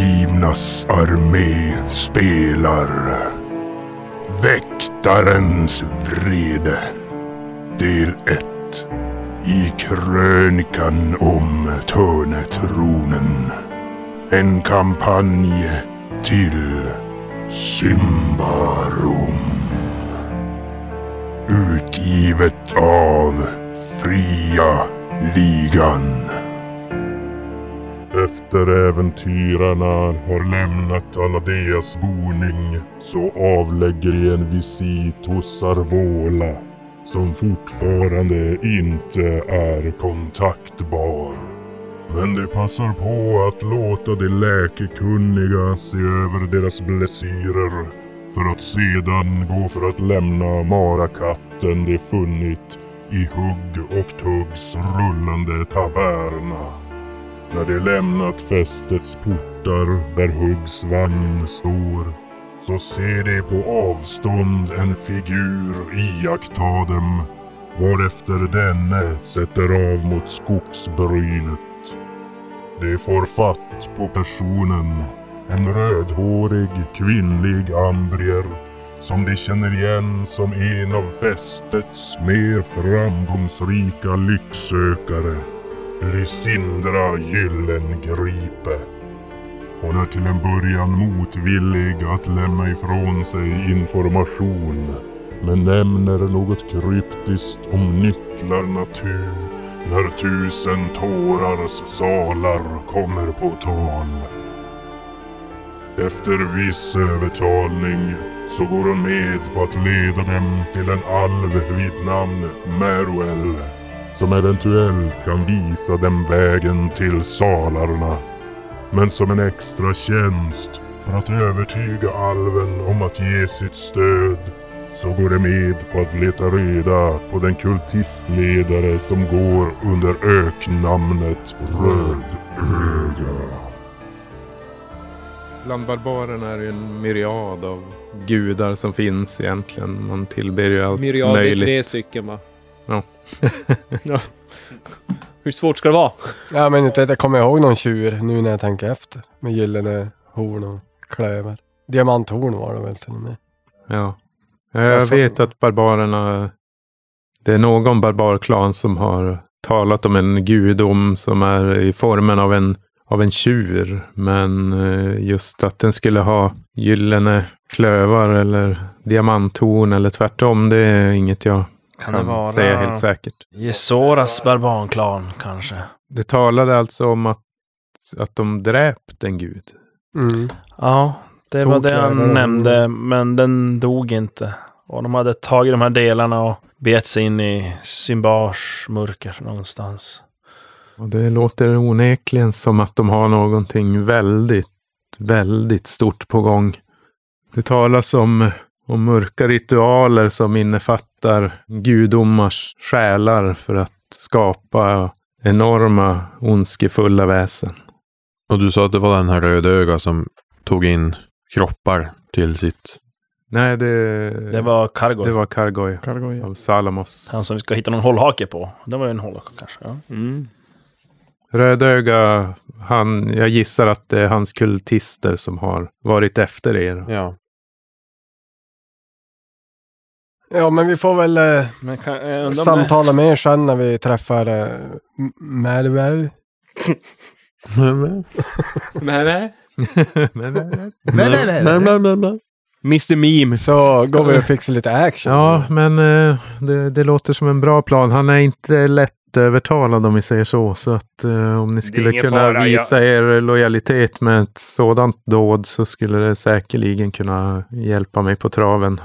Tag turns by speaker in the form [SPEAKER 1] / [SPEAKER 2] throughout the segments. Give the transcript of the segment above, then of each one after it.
[SPEAKER 1] Djävlarnas armé spelar Väktarens vrede Del 1 I krönikan om Törnetronen En kampanj till Symbarum Utgivet av Fria Ligan
[SPEAKER 2] Efter äventyrarna har lämnat Aladeas boning så avlägger de en visit hos Arvola som fortfarande inte är kontaktbar. Men de passar på att låta de läkekunniga se över deras blessyrer för att sedan gå för att lämna marakatten de funnit i Hugg och Tuggs rullande taverna. När de lämnat fästets portar där Huggs vagn står så ser de på avstånd en figur iaktta dem varefter denne sätter av mot skogsbrynet. De får fatt på personen, en rödhårig kvinnlig ambrier som de känner igen som en av fästets mer framgångsrika lycksökare. Lysindra Gyllengripe. Hon är till en början motvillig att lämna ifrån sig information men nämner något kryptiskt om nycklarna tu när tusen tårars salar kommer på tal. Efter viss övertalning så går hon med på att leda dem till en alv vid namn Meruel som eventuellt kan visa dem vägen till salarna. Men som en extra tjänst för att övertyga alven om att ge sitt stöd så går de med på att leta reda på den kultistledare som går under öknamnet Rödöga.
[SPEAKER 3] Bland barbarerna är det en myriad av gudar som finns egentligen. Man tillber ju allt
[SPEAKER 4] Myriad det är
[SPEAKER 3] möjligt.
[SPEAKER 4] tre stycken va?
[SPEAKER 3] Ja.
[SPEAKER 4] Ja. Hur svårt ska det vara?
[SPEAKER 5] Ja men inte att jag kommer ihåg någon tjur nu när jag tänker efter. Med gyllene horn och klöver. Diamanthorn var det väl till och med.
[SPEAKER 3] Ja. Ja, Jag
[SPEAKER 5] fan.
[SPEAKER 3] vet att barbarerna... Det är någon barbarklan som har talat om en gudom som är i formen av en, av en tjur. Men eh, just att den skulle ha gyllene klövar eller diamanthorn eller tvärtom, det är inget jag
[SPEAKER 6] Kan
[SPEAKER 3] kan,
[SPEAKER 6] det vara
[SPEAKER 3] säga helt säkert.
[SPEAKER 6] Jesoras barbanklan kanske?
[SPEAKER 3] Det talade alltså om att, att de dräpt en gud.
[SPEAKER 5] Mm.
[SPEAKER 6] Ja, det var det
[SPEAKER 5] Tokläder,
[SPEAKER 6] han
[SPEAKER 5] ja.
[SPEAKER 6] nämnde, men den dog inte. Och de hade tagit de här delarna och begett sig in i Symbars mörker någonstans.
[SPEAKER 3] Och det låter onekligen som att de har någonting väldigt, väldigt stort på gång. Det talas om, om mörka ritualer som innefattar gudomars själar för att skapa enorma ondskefulla väsen.
[SPEAKER 7] Och du sa att det var den här rödöga som tog in kroppar till sitt...
[SPEAKER 3] Nej, det,
[SPEAKER 6] Det var Kargor.
[SPEAKER 3] det var Kargoy
[SPEAKER 4] Kargoja.
[SPEAKER 3] av Salamos.
[SPEAKER 6] Han som vi ska hitta någon hållhake på. Det var ju en hållhake kanske. Ja.
[SPEAKER 3] Rödöga, han, jag gissar att det är hans kultister som har varit efter er.
[SPEAKER 7] Ja.
[SPEAKER 5] Ja men vi får väl eh,
[SPEAKER 6] Men kan, jag undrar om det,
[SPEAKER 5] samtala mer sen när vi träffar eh, M- Mervau.
[SPEAKER 4] Men, men. Mr Meme.
[SPEAKER 5] Så går vi och fixar lite action.
[SPEAKER 3] Ja, men eh, det, det låter som en bra plan. Han är inte lättövertalad om vi säger så. Så att eh, om ni skulle
[SPEAKER 6] ingen
[SPEAKER 3] kunna
[SPEAKER 6] fara,
[SPEAKER 3] visa er lojalitet med ett sådant dåd så skulle det säkerligen kunna hjälpa mig på traven.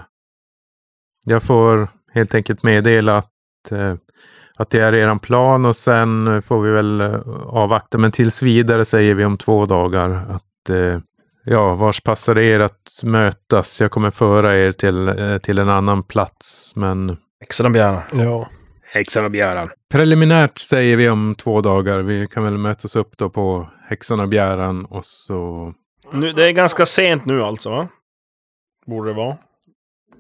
[SPEAKER 3] Jag får helt enkelt meddela att, eh, att det är eran plan och sen eh, får vi väl eh, avvakta. Men tills vidare säger vi om två dagar att eh, Ja, vars passar det er att mötas? Jag kommer föra er till, eh, till en annan plats, men
[SPEAKER 6] Extra björn.
[SPEAKER 5] Ja.
[SPEAKER 4] Häxan och Björn.
[SPEAKER 3] preliminärt säger vi om två dagar. Vi kan väl mötas upp då på Häxan och Bjäran och så...
[SPEAKER 6] Nu, det är ganska sent nu alltså va? Borde det vara.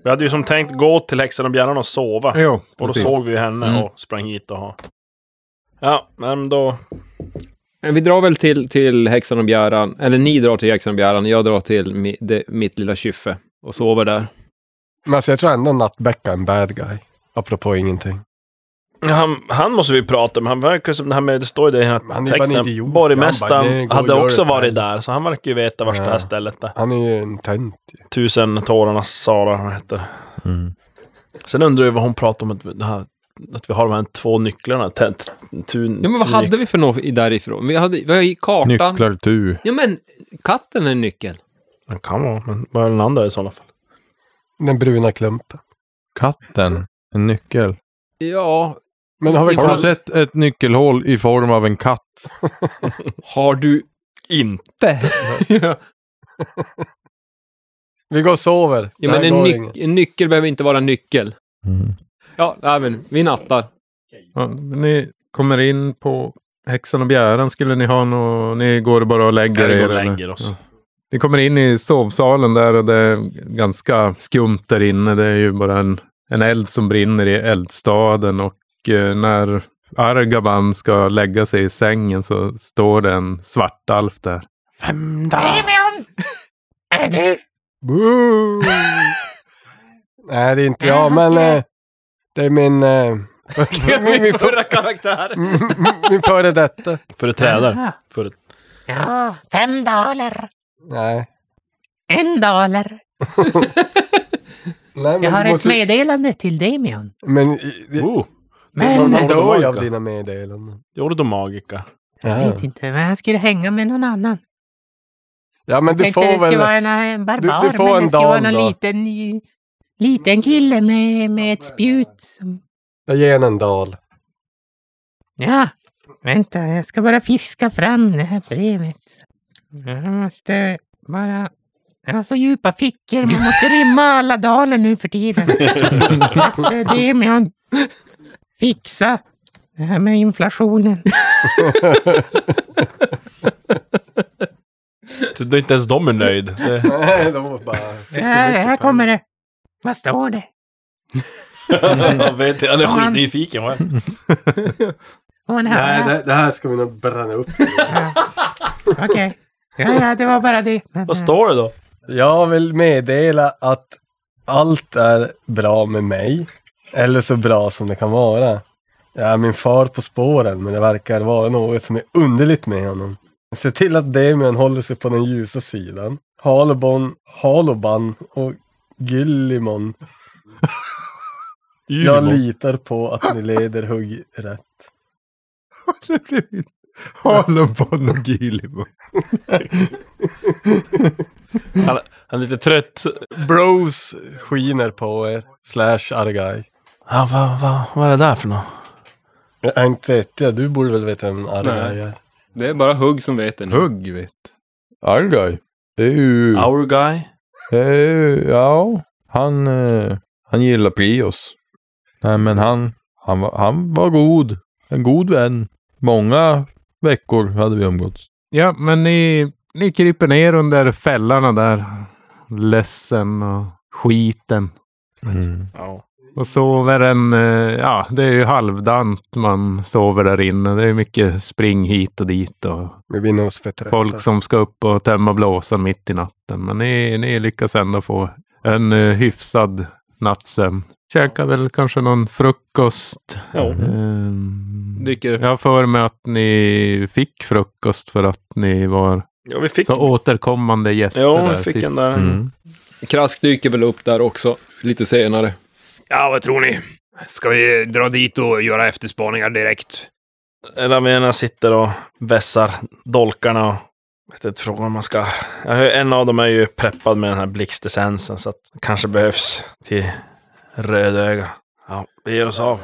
[SPEAKER 6] Vi hade ju som tänkt gå till häxan och björnen och sova.
[SPEAKER 3] Jo,
[SPEAKER 6] Och då
[SPEAKER 3] precis.
[SPEAKER 5] Mm.
[SPEAKER 6] såg vi ju henne
[SPEAKER 3] Mm.
[SPEAKER 6] och sprang hit och ha. Ja, men då
[SPEAKER 8] Men Vi drar väl till, till häxan och bjäran, eller ni drar till häxan och bjäran, jag drar till mi, det, mitt lilla kyffe och sover där.
[SPEAKER 5] Men alltså jag tror ändå Nattbäcka är en bad guy. Apropå ingenting.
[SPEAKER 6] Han, han måste vi prata med. Han verkar som det här med, det står ju det i den
[SPEAKER 5] Han
[SPEAKER 6] här
[SPEAKER 5] är ju bara en
[SPEAKER 6] texten.
[SPEAKER 5] idiot. Han bara, "Nej,
[SPEAKER 6] Borgmästaren
[SPEAKER 5] gå och
[SPEAKER 6] hade
[SPEAKER 5] gör
[SPEAKER 6] också
[SPEAKER 5] det här."
[SPEAKER 6] varit där, så han verkar ju veta vart det här
[SPEAKER 5] Ja.
[SPEAKER 6] stället är.
[SPEAKER 5] Han är ju en tönt. ju.
[SPEAKER 6] Tusen tårarnas Sara, hon heter.
[SPEAKER 7] Mm.
[SPEAKER 6] Sen undrar jag vad hon pratar om, att, det här, att vi har de här två nycklarna. T- t- tun,
[SPEAKER 8] Ja, men vad hade vi för något i- därifrån? Vi hade, vi har ju kartan.
[SPEAKER 7] Nycklar, du.
[SPEAKER 8] Ja, men katten är en nyckel.
[SPEAKER 6] Den kan vara, men vad är den andra i sådana fall?
[SPEAKER 5] Den bruna klumpen.
[SPEAKER 7] Katten. En nyckel.
[SPEAKER 8] Ja,
[SPEAKER 5] Men har vi
[SPEAKER 7] Har du
[SPEAKER 8] Exakt.
[SPEAKER 7] sett ett nyckelhål i form av en katt?
[SPEAKER 8] har du inte? ja,
[SPEAKER 5] Vi går och sover. Det här
[SPEAKER 8] men en,
[SPEAKER 5] går
[SPEAKER 8] nyc-
[SPEAKER 5] inget.
[SPEAKER 8] en nyckel behöver inte vara en nyckel.
[SPEAKER 7] Mm.
[SPEAKER 8] Ja, nej, men vi nattar.
[SPEAKER 3] Ja, ni kommer in på häxan och bjäran. Skulle ni ha något? Ni går bara och lägger
[SPEAKER 6] Ja, vi
[SPEAKER 3] er?
[SPEAKER 6] går och
[SPEAKER 3] eller?
[SPEAKER 6] lägger oss.
[SPEAKER 3] Ja. Ni kommer in i sovsalen där och det är ganska skumt där inne. Det är ju bara en, en eld som brinner i eldstaden och eh, när Argaban ska lägga sig i sängen så står det en svartalf där.
[SPEAKER 6] Vem där?
[SPEAKER 5] Boo! Nej, det är inte jag, men eh, det är min... Eh, min, min, för,
[SPEAKER 6] karaktär.
[SPEAKER 5] min Mm, före detta.
[SPEAKER 6] Företrädare. Före...
[SPEAKER 9] Ja, Ah, fem daler.
[SPEAKER 5] Nej.
[SPEAKER 9] En daler.
[SPEAKER 5] Nej men,
[SPEAKER 9] Jag har
[SPEAKER 5] du
[SPEAKER 9] ett meddelande till Damian.
[SPEAKER 5] Men... i- i-
[SPEAKER 6] Oh,
[SPEAKER 5] Från
[SPEAKER 9] Men
[SPEAKER 6] Ordo
[SPEAKER 5] då av
[SPEAKER 6] Magica.
[SPEAKER 5] dina meddelanden.
[SPEAKER 6] Jordo Magica.
[SPEAKER 9] jag vet inte, men han skulle hänga med någon annan.
[SPEAKER 5] Ja, men du
[SPEAKER 9] Tänkte det
[SPEAKER 5] får
[SPEAKER 9] skulle
[SPEAKER 5] väl...
[SPEAKER 9] vara en, eh, en barbar,
[SPEAKER 5] du- du får
[SPEAKER 9] men
[SPEAKER 5] en
[SPEAKER 9] det skulle
[SPEAKER 5] dal
[SPEAKER 9] vara någon
[SPEAKER 5] då.
[SPEAKER 9] liten, liten kille med, med ett spjut. Som,
[SPEAKER 5] Jag ger henne en dal.
[SPEAKER 9] ja, vänta, jag ska bara fiska fram det här brevet. Jag måste bara... Jag har så djupa fickor, man måste rymma alla daler nu för tiden. Efter Damian. Fixa det här med inflationen.
[SPEAKER 6] Det är inte ens de är nöjd. Det...
[SPEAKER 5] Nej, de var bara...
[SPEAKER 9] Det här, här kommer det. Vad står det?
[SPEAKER 6] jag vet inte, jag är
[SPEAKER 9] Kom han.
[SPEAKER 6] skitnyfiken. va?
[SPEAKER 9] Får man höra?
[SPEAKER 5] Nej, det, det här ska vi nog bränna upp.
[SPEAKER 9] Ja. Okej. Ja, ja, det var bara det.
[SPEAKER 6] Vad står det då?
[SPEAKER 5] Jag vill meddela att allt är bra med mig. Eller så bra som det kan vara. Jag är min far på spåren, men det verkar vara något som är underligt med honom. Se till att Damien håller sig på den ljusa sidan. Halobon, Haloban och Gyllimon. Jag litar på att ni leder hugg rätt.
[SPEAKER 3] Halobon och Gilibon.
[SPEAKER 6] Han är lite trött.
[SPEAKER 5] Bros skiner på er. Slash Argai.
[SPEAKER 6] Ja, vad, vad, vad är det där för något?
[SPEAKER 5] Jag inte vet jag, du borde väl veta vem Argai är?
[SPEAKER 8] Det är bara hugg som vet det nu.
[SPEAKER 3] Hugg vet.
[SPEAKER 7] Argai. Det är ju...
[SPEAKER 6] Our guy?
[SPEAKER 7] Det är ju- Ja. Han, eh, han gillar Prios. Nej, men han, han, var, han var god. En god vän. Många veckor hade vi umgåtts.
[SPEAKER 3] Ja, men ni, ni kryper ner under fällarna där. Lössen och skiten.
[SPEAKER 7] Mm.
[SPEAKER 3] Och sover en, eh, ja det är ju halvdant man sover där inne. Det är mycket spring hit och dit och
[SPEAKER 5] Vi vinner oss bättre.
[SPEAKER 3] folk som ska upp och tömma blåsan mitt i natten. Men ni, ni lyckas ändå få en eh, hyfsad nattsömn. Käkar väl kanske någon frukost.
[SPEAKER 6] Ja.
[SPEAKER 3] Ehm,
[SPEAKER 8] Dricker.
[SPEAKER 3] jag har för mig att ni fick frukost för att ni var
[SPEAKER 6] Ja, vi fick
[SPEAKER 3] så återkommande gäster
[SPEAKER 6] Jo,
[SPEAKER 3] där
[SPEAKER 6] vi fick
[SPEAKER 3] sist.
[SPEAKER 6] en där.
[SPEAKER 7] Mm.
[SPEAKER 8] Krask dyker väl upp där också, lite senare.
[SPEAKER 10] Ja, vad tror ni? Ska vi dra dit och göra efterspaningar direkt?
[SPEAKER 6] Ravena sitter och vässar dolkarna och vet inte frågan om man ska... Jag hör- En av dem är ju preppad med den här blixtessensen så att det kanske behövs till rödöga. Ja, vi ger oss av.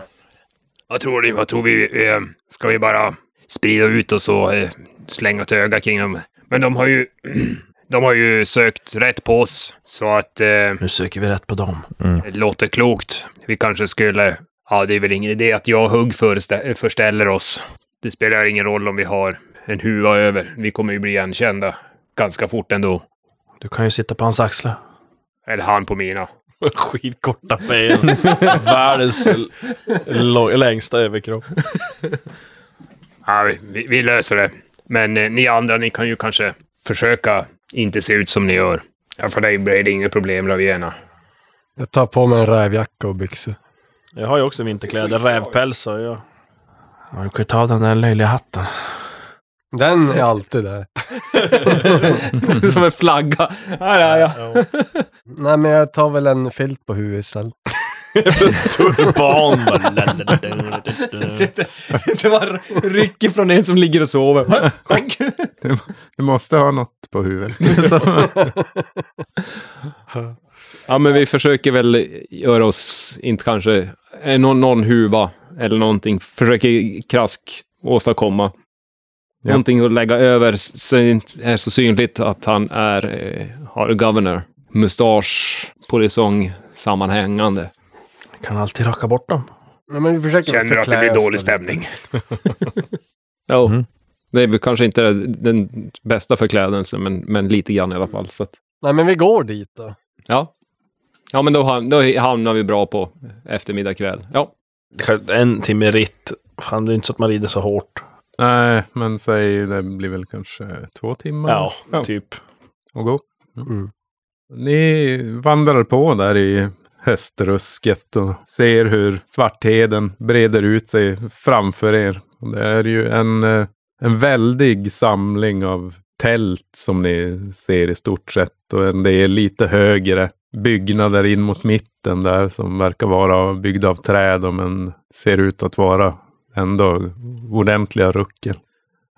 [SPEAKER 10] Vad tror ni? Vad tror vi? Eh, ska vi bara sprida ut oss och eh, slänga ett öga kring dem? Men de har ju... De har ju sökt rätt på oss, så att eh,
[SPEAKER 6] Nu söker vi rätt på dem.
[SPEAKER 10] det låter klokt. Vi kanske skulle... Ja, det är väl ingen idé att jag och Hugg förstä- förställer oss. Det spelar ingen roll om vi har en huva över. Vi kommer ju bli igenkända ganska fort ändå.
[SPEAKER 6] Du kan ju sitta på hans axlar.
[SPEAKER 10] Eller han på mina.
[SPEAKER 6] Skitkorta ben. Världens l- lång- längsta överkropp.
[SPEAKER 10] Ja, vi, vi, vi löser det. Men eh, ni andra, ni kan ju kanske försöka inte se ut som ni gör. Ja, för dig blir det inget problem, Ravena.
[SPEAKER 5] Jag tar på mig en rävjacka och byxor.
[SPEAKER 6] Jag har ju också vinterkläder, rävpäls har jag. Ja, du kan ju ta den där löjliga hatten.
[SPEAKER 5] Den är alltid där.
[SPEAKER 6] Som en flagga. Här är jag.
[SPEAKER 5] Nej, men jag tar väl en filt på huvudet istället.
[SPEAKER 6] Turban.
[SPEAKER 4] Det var rycker från en som ligger och sover.
[SPEAKER 3] Du, du måste ha något på huvudet.
[SPEAKER 8] Ja, men vi försöker väl göra oss, inte kanske, eh, någon, någon huva eller någonting. Försöker krask åstadkomma.
[SPEAKER 3] Ja.
[SPEAKER 8] Någonting att lägga över så det inte är så synligt att han är, eh, har governor. Mustasch, polisong, sammanhängande.
[SPEAKER 6] Kan alltid raka bort dem.
[SPEAKER 5] Nej, men vi försöker
[SPEAKER 10] Känner att det
[SPEAKER 5] förklä
[SPEAKER 10] blir
[SPEAKER 5] oss
[SPEAKER 10] dålig
[SPEAKER 5] lite.
[SPEAKER 10] stämning.
[SPEAKER 8] Ja,
[SPEAKER 7] Mm.
[SPEAKER 8] det är väl kanske inte den bästa förklädelsen, men, men lite grann i alla fall. Så att,
[SPEAKER 5] Nej, men vi går dit då.
[SPEAKER 8] ja. ja, men då, ham- då hamnar vi bra på eftermiddag, kväll. Ja,
[SPEAKER 6] En timme ritt. Fan, det är inte så att man rider så hårt.
[SPEAKER 3] Nej, men säg det blir väl kanske två timmar
[SPEAKER 6] Ja, typ.
[SPEAKER 3] att gå. Ni vandrar på där i höstrusket och ser hur Svartheden breder ut sig framför er. Och Det är ju en, eh, en väldig samling av tält som ni ser i stort sett och en del lite högre byggnader in mot mitten där som verkar vara byggda av träd och men ser ut att vara ändå ordentliga ruckel.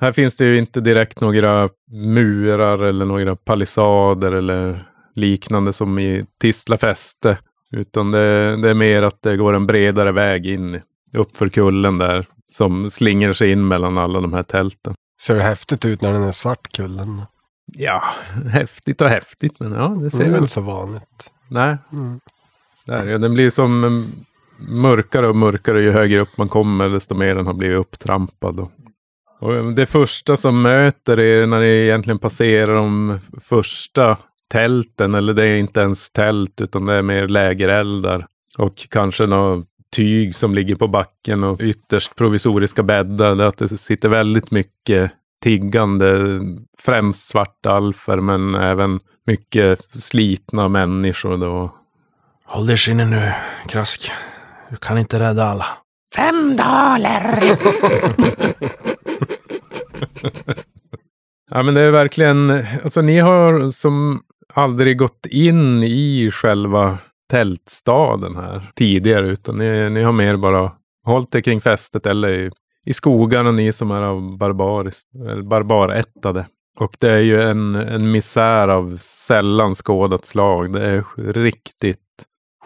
[SPEAKER 3] Här finns det ju inte direkt några murar eller några palissader eller liknande som i Tisla fäste. Utan det, det är mer att det går en bredare väg in uppför kullen där som slingar sig in mellan alla de här tälten.
[SPEAKER 5] Ser det häftigt ut när den är svart kullen?
[SPEAKER 3] Ja, häftigt och häftigt, men ja, det ser
[SPEAKER 5] Det är
[SPEAKER 3] väl...
[SPEAKER 5] väl så vanligt.
[SPEAKER 3] Nej,
[SPEAKER 5] Mm.
[SPEAKER 3] där, ja, den blir som mm, mörkare och mörkare ju högre upp man kommer, desto mer den har blivit upptrampad. Och, och eh, det första som möter er när ni egentligen passerar de f- första tälten, eller det är inte ens tält, utan det är mer lägereldar och kanske något tyg som ligger på backen och ytterst provisoriska bäddar där att det sitter väldigt mycket tiggande, främst svartalfer, men även mycket slitna människor då.
[SPEAKER 6] Håll dig i skinnet nu, Krask. Du kan inte rädda alla.
[SPEAKER 9] Fem daler!
[SPEAKER 3] Ja, men det är verkligen, alltså ni har som aldrig gått in i själva tältstaden här tidigare, utan ni, ni har mer bara hållit er kring fästet eller i, i skogarna, ni som är av barbariskt, eller barbarättade. Och det är ju en, en misär av sällan skådat slag. Det är riktigt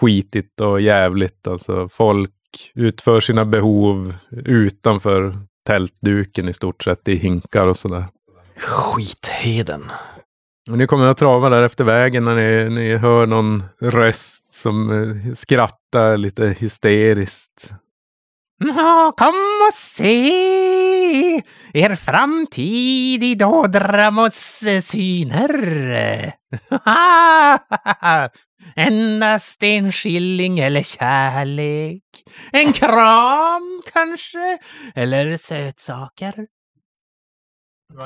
[SPEAKER 3] skitigt och jävligt. Alltså folk utför sina behov utanför tältduken i stort sett i hinkar och sådär.
[SPEAKER 6] Skitheden.
[SPEAKER 3] Och ni kommer att trava där efter vägen när ni, ni hör någon röst som eh, skrattar lite hysteriskt.
[SPEAKER 9] Nå, Mm, kom och se er framtid i Dodramos syner. Endast en skilling eller kärlek. En kram kanske, eller sötsaker.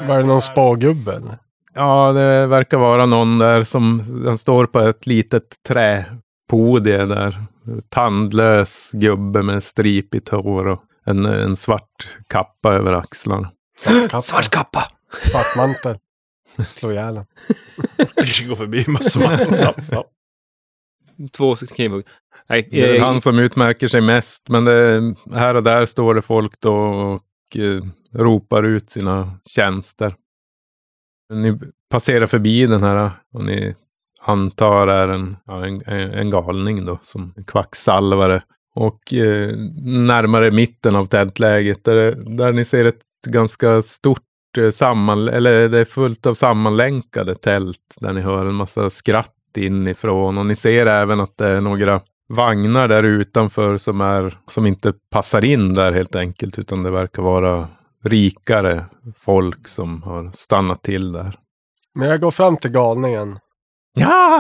[SPEAKER 5] Var det någon spågubbe? eller?
[SPEAKER 3] Ja, det verkar vara någon där som han står på ett litet träpodie där. Tandlös gubbe med stripigt hår och en, en svart kappa över axlarna.
[SPEAKER 5] Svartkappa.
[SPEAKER 6] Svart kappa!
[SPEAKER 5] Svart mantel. Slå ihjäl den.
[SPEAKER 6] Gå förbi massor. Ja, ja.
[SPEAKER 8] två knivhugg. Nej,
[SPEAKER 3] Det är
[SPEAKER 8] eh,
[SPEAKER 3] väl han som utmärker sig mest, men det, här och där står det folk då och eh, ropar ut sina tjänster. Ni passerar förbi den här och ni antar är en, ja, en, en galning då, som en kvacksalvare. Och eh, närmare mitten av tältläget, där, där ni ser ett ganska stort eh, samman, eller det är fullt av sammanlänkade tält där ni hör en massa skratt inifrån och ni ser även att det är några vagnar där utanför som, är, som inte passar in där helt enkelt, utan det verkar vara rikare folk som har stannat till där.
[SPEAKER 5] Men jag går fram till galningen.
[SPEAKER 9] Ja,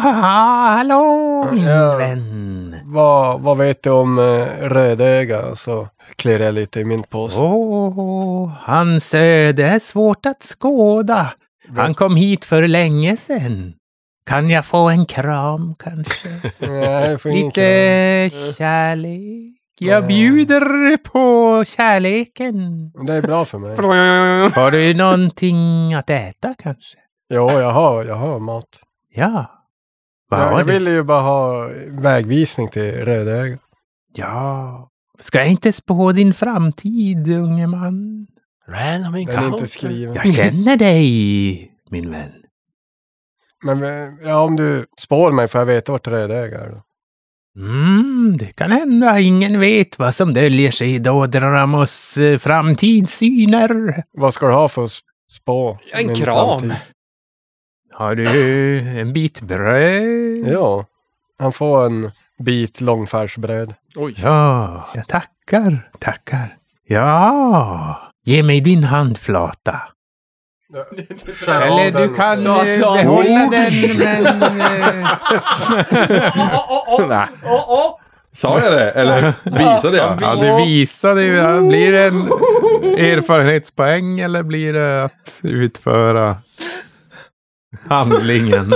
[SPEAKER 9] hallå min
[SPEAKER 5] Ja.
[SPEAKER 9] vän.
[SPEAKER 5] vad, vad vet du om eh, Rödöga? Så klirrar jag lite i min påse.
[SPEAKER 9] Åh, hans öde är svårt att skåda. Han kom hit för länge sedan. Kan jag få en kram kanske?
[SPEAKER 5] Nej, jag får ingen
[SPEAKER 9] Lite
[SPEAKER 5] kram.
[SPEAKER 9] kärlek. Jag bjuder på kärleken.
[SPEAKER 5] Men Det är bra för mig.
[SPEAKER 9] Har du någonting att äta kanske?
[SPEAKER 5] Jo, jag har, jag har mat.
[SPEAKER 9] Ja. Vad
[SPEAKER 5] Jag,
[SPEAKER 9] har
[SPEAKER 5] jag
[SPEAKER 9] du?
[SPEAKER 5] ville ju bara ha vägvisning till Rödöga.
[SPEAKER 9] Ja. Ska jag inte spå din framtid, unge man?
[SPEAKER 6] Random
[SPEAKER 5] Den är
[SPEAKER 6] encounter.
[SPEAKER 5] inte skriven.
[SPEAKER 9] Jag känner dig, min vän.
[SPEAKER 5] Men eh, ja, om du spår mig får jag veta vart Rödöga är. då.
[SPEAKER 9] Mm, det kan hända. Ingen vet vad som döljer sig i Dodramos eh, framtidssyner.
[SPEAKER 5] Vad ska du ha för att s- spå?
[SPEAKER 10] En
[SPEAKER 5] min
[SPEAKER 10] kram.
[SPEAKER 5] framtid?
[SPEAKER 9] Har du en bit bröd?
[SPEAKER 5] Ja, han får en bit långfärsbröd.
[SPEAKER 10] Oj.
[SPEAKER 9] Ja, jag tackar, tackar. Ja, ge mig din handflata. Eller du kan
[SPEAKER 4] Så,
[SPEAKER 9] eh,
[SPEAKER 4] så.
[SPEAKER 9] behålla den, men... eh,
[SPEAKER 7] Nej. Sa jag det? Eller visade jag?
[SPEAKER 3] Ja, du visade ju. ja, Blir det en erfarenhetspoäng eller blir det att utföra handlingen?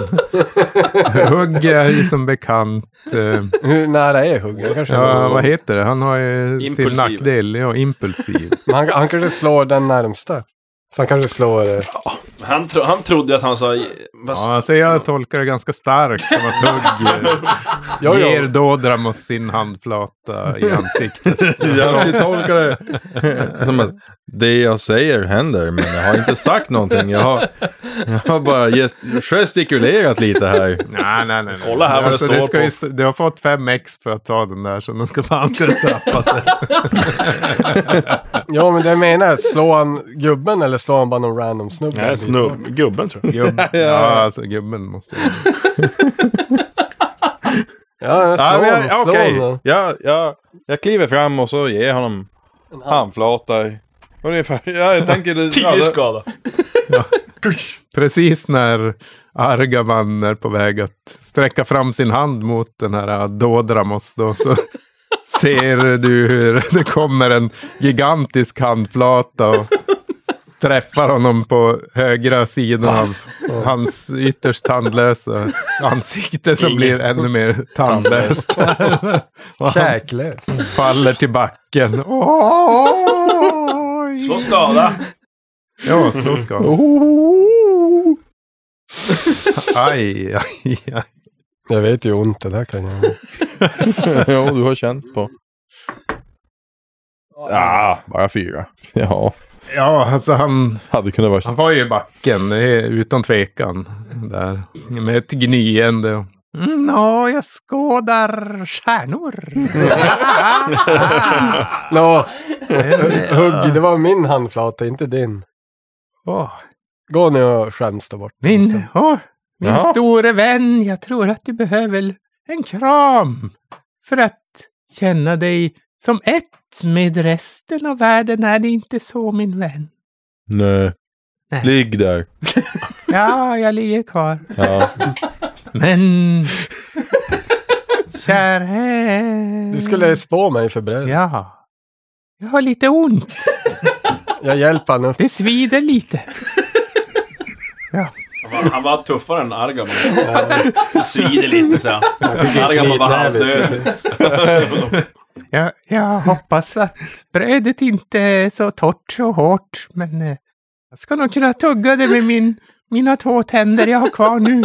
[SPEAKER 3] Hugg är ju som bekant... eh,
[SPEAKER 5] Hur nära är huggen? Kanske
[SPEAKER 3] Ja, vad heter det? Han har ju
[SPEAKER 6] Impulsiv.
[SPEAKER 3] sin nackdel. Ja, impulsiv.
[SPEAKER 5] Men han, han kanske slår den närmsta. Så han kanske slår... eh,
[SPEAKER 6] Han, tro, han trodde att han sa... Vad,
[SPEAKER 3] Ja, alltså jag tolkar det ganska starkt som att Hugg eh,
[SPEAKER 5] Jo, jo.
[SPEAKER 3] ger Dodramus sin handflata i ansiktet.
[SPEAKER 7] Jag skulle tolka det som att det jag säger händer, men jag har inte sagt någonting. Jag har, jag har bara gett, gestikulerat lite här.
[SPEAKER 3] Nej, nej, nej. nej.
[SPEAKER 6] Kolla här vad det står
[SPEAKER 3] du, ska
[SPEAKER 6] på.
[SPEAKER 3] ju st- du har fått fem ex för att ta den där, så nu ska fan ska det straffa sig.
[SPEAKER 5] Ja, men det jag menar är, slår han gubben eller slår han bara någon random snubbe?
[SPEAKER 6] nej, snubb, gubben tror jag.
[SPEAKER 3] Gubb, ja, alltså gubben måste ju...
[SPEAKER 5] Ja, jag
[SPEAKER 7] Ja,
[SPEAKER 5] slår
[SPEAKER 7] men
[SPEAKER 5] honom.
[SPEAKER 7] jag-
[SPEAKER 5] Slår
[SPEAKER 7] Okej,
[SPEAKER 5] honom.
[SPEAKER 7] jag, jag, jag kliver fram och så ger jag honom handflata. i- Ungefär, ja, jag tänker... ja,
[SPEAKER 6] Tio
[SPEAKER 7] det-
[SPEAKER 6] skada.
[SPEAKER 3] Precis när Argavan är på väg att sträcka fram sin hand mot den här äh, Dodramos då, så ser du hur det kommer en gigantisk handflata och träffar honom på högra sidan av hans ytterst tandlösa ansikte som blir ännu mer tandlöst. Och han
[SPEAKER 5] Käklös.
[SPEAKER 3] faller till backen. Oj!
[SPEAKER 6] Slå skada.
[SPEAKER 3] Ja, slå ska han. Aj, aj, aj.
[SPEAKER 5] Jag vet ju hur ont det där kan göra.
[SPEAKER 7] ja, du har känt på. Ja, bara fyra. Ja,
[SPEAKER 3] Ja, alltså han,
[SPEAKER 7] hade kunnat vara...
[SPEAKER 3] han var ju i backen, det är utan tvekan. Där. Med ett gnyende. och-
[SPEAKER 9] Mm, ja, jag skådar stjärnor.
[SPEAKER 5] Nå, hugg, det var min handflata, inte din.
[SPEAKER 3] Åh,
[SPEAKER 5] Gå nu och skäms där bort.
[SPEAKER 9] Min, åh, min
[SPEAKER 7] Jaha.
[SPEAKER 9] store vän, jag tror att du behöver en kram för att känna dig som ett med resten av världen. Är det inte så, min vän?
[SPEAKER 7] Nej.
[SPEAKER 9] Nej.
[SPEAKER 7] Ligg där.
[SPEAKER 9] Ja, jag ligger kvar.
[SPEAKER 7] Ja.
[SPEAKER 9] Men... Kära...
[SPEAKER 5] Du skulle spå mig för bröd.
[SPEAKER 9] Mm. Ja. Jag har lite ont.
[SPEAKER 5] Jag hjälper han upp.
[SPEAKER 9] Det svider lite.
[SPEAKER 6] Han var, han var tuffare än Argaman. Det svider lite så. Argaman var halvdöd.
[SPEAKER 9] Jag, jag hoppas att brödet inte är så torrt och hårt, men eh, jag ska nog kunna tugga det med min, mina två tänder jag har kvar nu.